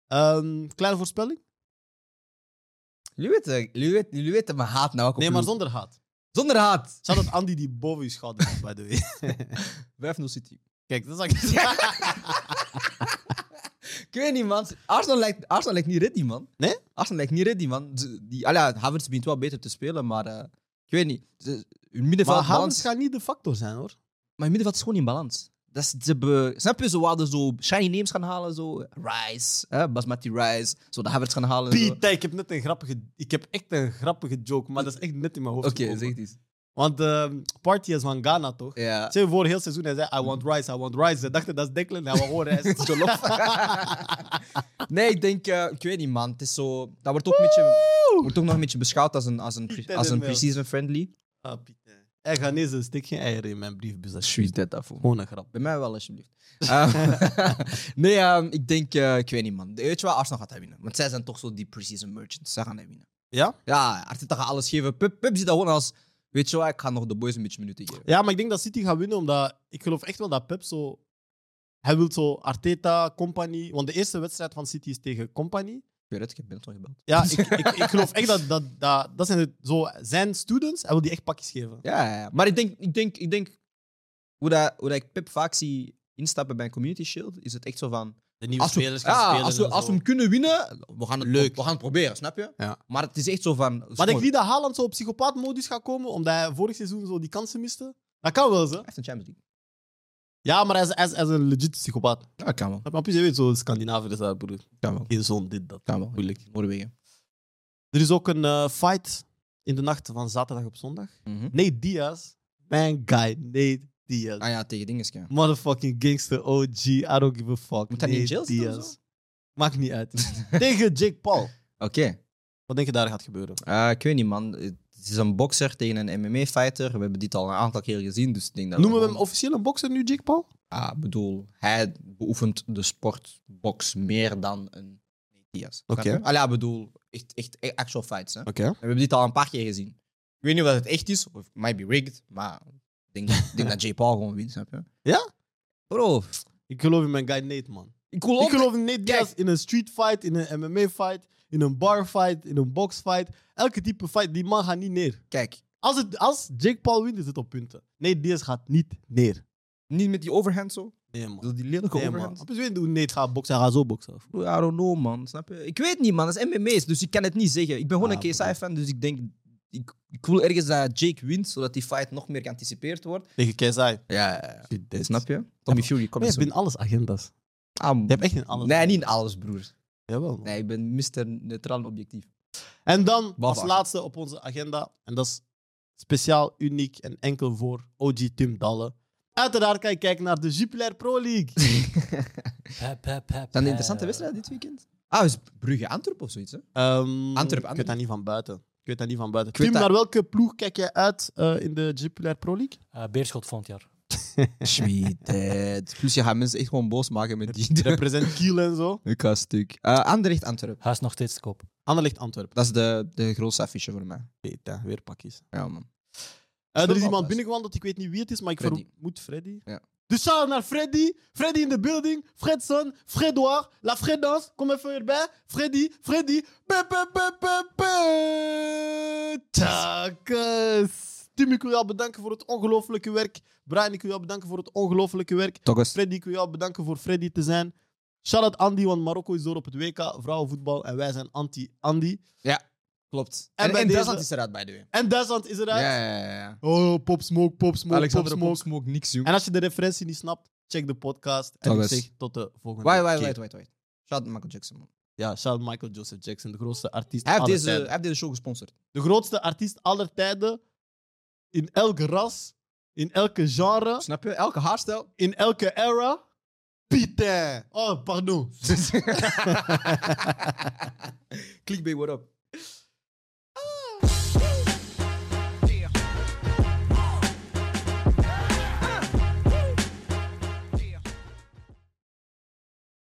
Ehm, kleine voorspelling?
Jullie weten, jullie weten, jullie weten mijn haat nou ook
Nee, maar zonder haat.
zonder haat.
Zou dat Andy die boven je schouder is, by the way.
5-0 City.
Kijk, dat is eigenlijk...
Ik weet niet, man. Arsenal lijkt, Arsenal lijkt niet ready, man.
Nee?
Arsenal lijkt niet ready, man. Ze- Die, ah ja, Havertz begint wel beter te spelen, maar eh, ik weet niet. Ze- Hun middenveld
Maar
maar balans.
Havertz gaat niet de factor zijn, hoor.
Maar hun middenveld is gewoon in balans. Dat is, ze be, snap je? Ze wilden zo shiny names gaan halen, zo. Rice, hè, Basmati Rice. Zo de Havertz gaan halen. en zo.
Piet, ik heb net een grappige... Ik heb echt een grappige joke, maar dat is echt net in mijn hoofd
Oké,
gekomen.
zeg het eens.
Want ehm Party is van Ghana, toch?
Ja.
Ze voor heel seizoen, hij zei, I want rice, I want rice. Ze dachten, dat is Declan, hij wou gewoon rice.
Jollof. nee, ik denk, eh, ik weet niet, man. Het is zo, dat wordt ook, een beetje, wordt ook nog een beetje beschouwd als een, als een, pre- als een pre-season friendly.
Ah, Piet. hè. Hey, Ghanese, steek geen eieren in mijn briefbus. Dat is
Sweet dat daarvoor.
gewoon een grap.
Bij mij wel, alsjeblieft. Eh, nee, ehm, ik denk, eh, ik weet niet, man. Weet je wat, Arsenal gaat hij winnen. Want zij zijn toch zo die pre-season merchants. Zij gaan hij winnen.
Ja?
Ja, Arteta gaat alles geven. Pep, Pep ziet dat gewoon als weet je wat, ik ga nog de boys een beetje minuten geven.
Ja, maar ik denk dat City gaat winnen, omdat ik geloof echt wel dat Pep zo... Hij wil zo Arteta, Company... Want de eerste wedstrijd van City is tegen Company.
Ik weet het, ik heb Benetton gebeld.
Ja, ik, ik, ik geloof echt dat dat, dat, dat zijn, de- zo, zijn students. Hij wil die echt pakjes geven.
Ja, ja, ja. maar ik denk, ik denk, ik denk hoe, dat, hoe dat ik Pep vaak zie instappen bij een community shield, is het echt zo van...
De nieuwe
als we,
spelers
ja,
gaan spelen.
als we,
en
als we
zo.
hem kunnen winnen, we gaan het,
Leuk.
We gaan het proberen, snap je?
Ja.
Maar het is echt zo van...
Maar denk je niet dat Haaland zo op psychopaat-modus gaat komen, omdat hij vorig seizoen zo die kansen miste? Dat kan wel, ze.
Hij heeft een Champions League.
Ja, maar hij is, hij is, hij is een legit psychopaat.
Ja, dat kan wel.
Maar plus, je weet, zo Scandinavië is dat, broer.
Kan wel.
Geen zoon, dit, dat.
Kan wel.
Moeilijk.
Noorwegen.
Er is ook een eh, fight in de nacht van zaterdag op zondag.
Mhm.
Nee, Diaz. Man guy, nee, Diaz.
Ah ja, tegen dingeske.
Motherfucking gangster OG, I don't give a fuck.
Moet hij
Nate
niet in jail zitten of
Diaz.
zo?
Maakt niet uit. Tegen Jake Paul.
Oké.
Wat denk je daar gaat gebeuren?
Eh, ik weet niet, man. Het is een bokser tegen een MMA-fighter. We hebben dit al een aantal keer gezien, dus ik denk dat...
Noemen we
we
hem officieel een bokser nu, Jake Paul?
Ah, ik bedoel, hij beoefent de sport box meer dan een Diaz.
Oké.
Snap je? Allee, ik bedoel, echt, echt, echt actual fights. Hè? En
Oké.
we hebben dit al een paar keer gezien. Ik weet niet of het echt is, of it might be rigged, maar ik denk, ik denk dat J. Paul gewoon wint, snap je?
Ja?
Bro,
Ik geloof in mijn guy Nate, man.
ik wil
Ik
ook...
geloof in Nate Diaz in een street fight, in een MMA fight, in een bar fight, in een box fight. Elke type fight, die man gaat niet neer.
Kijk,
Als, het, als Jake Paul wint, is het op punten. Nate Diaz gaat niet neer.
niet met die overhand zo.
Nee, man.
Dat die lelijke
Nee, man.
overhand.
Op weet hoe Nate gaat boksen, hij gaat zo boksen.
Bro, I don't know, man. Snap je? Ik weet niet, man. Dat is MMA's, dus ik kan het niet zeggen. Ik ben gewoon
Ah,
een
bro.
KSI-fan, dus ik denk... Ik, ik wil ergens dat Jake wint, zodat die fight nog meer geanticipeerd wordt.
Tegen KSI.
Ja, ja, ja.
Shit, dit.
Snap je? Tommy Fury
Maar
komt
je hebt in alles agendas. Je hebt echt in alles.
Nee, niet in alles, broer.
Jawel, man.
Nee, ik ben Mr. Neutraal en Objectief.
En dan als
Baba's.
laatste op onze agenda, en dat is speciaal, uniek en enkel voor OG Tim Dalle. Uiteraard kan je kijken naar de Jupiler Pro League.
Pep, pep,
Zijn
pep, pep.
er interessante wedstrijden dit weekend? Eh, Ah, is Brugge-Antwerpen of zoiets, hè?
Ehm,
Antwerp,
Ik weet dat
Antwerp.
niet van buiten. Ik weet dat niet van buiten.
Ik weet
Tim,
dat-
naar welke ploeg kijk jij uit eh, in de Jupiler Pro League?
Eh, Beerschot volgend jaar.
Sweet. Plus je gaat mensen echt gewoon boos maken met die.
Represent Kiel en zo.
Ik ga stuk. Eh, Anderlecht-Antwerpen.
Hij is nog steeds te koop.
Anderlecht Antwerp.
Dat is de, de grootste affiche voor mij.
Peter, weer pakjes.
Ja, man.
Eh, er is
Voetbal,
iemand
dus.
binnengewandeld, ik weet niet wie het is, maar ik
Freddy.
vermoed Freddy.
Ja.
Dus shout naar Freddy. Freddy in de building. Fredson, Fredoir, La Fredans, kom even erbij. Freddy, Freddy. Pe, pe, pe, pe, pe. Takkes. Tim, ik wil jou bedanken voor het ongelofelijke werk. Brian, ik wil jou bedanken voor het ongelofelijke werk.
Toch eens.
Freddy, ik wil jou bedanken voor Freddy te zijn. Shout-out Andy, want Marokko is door op het WK vrouwenvoetbal en wij zijn anti-Andy.
Klopt.
En
En, en,
bij
Duitsland
deze-
is eruit, by the way.
En Duitsland is eruit.
Ja, ja, ja. ja.
Oh, pop smoke, pop smoke,
Alexander
pop smoke.
Pop smoke niks, jong.
En als je de referentie niet snapt, check de podcast. En
Toch
ik
eens.
zeg tot de volgende
Wait, wait,
keer.
wait, wait, wait. Shout out Michael Jackson, man.
Ja, shout Michael Joseph Jackson, de grootste artiest
Hij heeft,
aller
deze, hij
tijden.
heeft deze show gesponsord.
De grootste artiest aller tijden. In elk ras, in elke genre,
Snap je? Elke haarstijl.
in elke era. Pieter. Oh, pardon.
Clickbait, what up?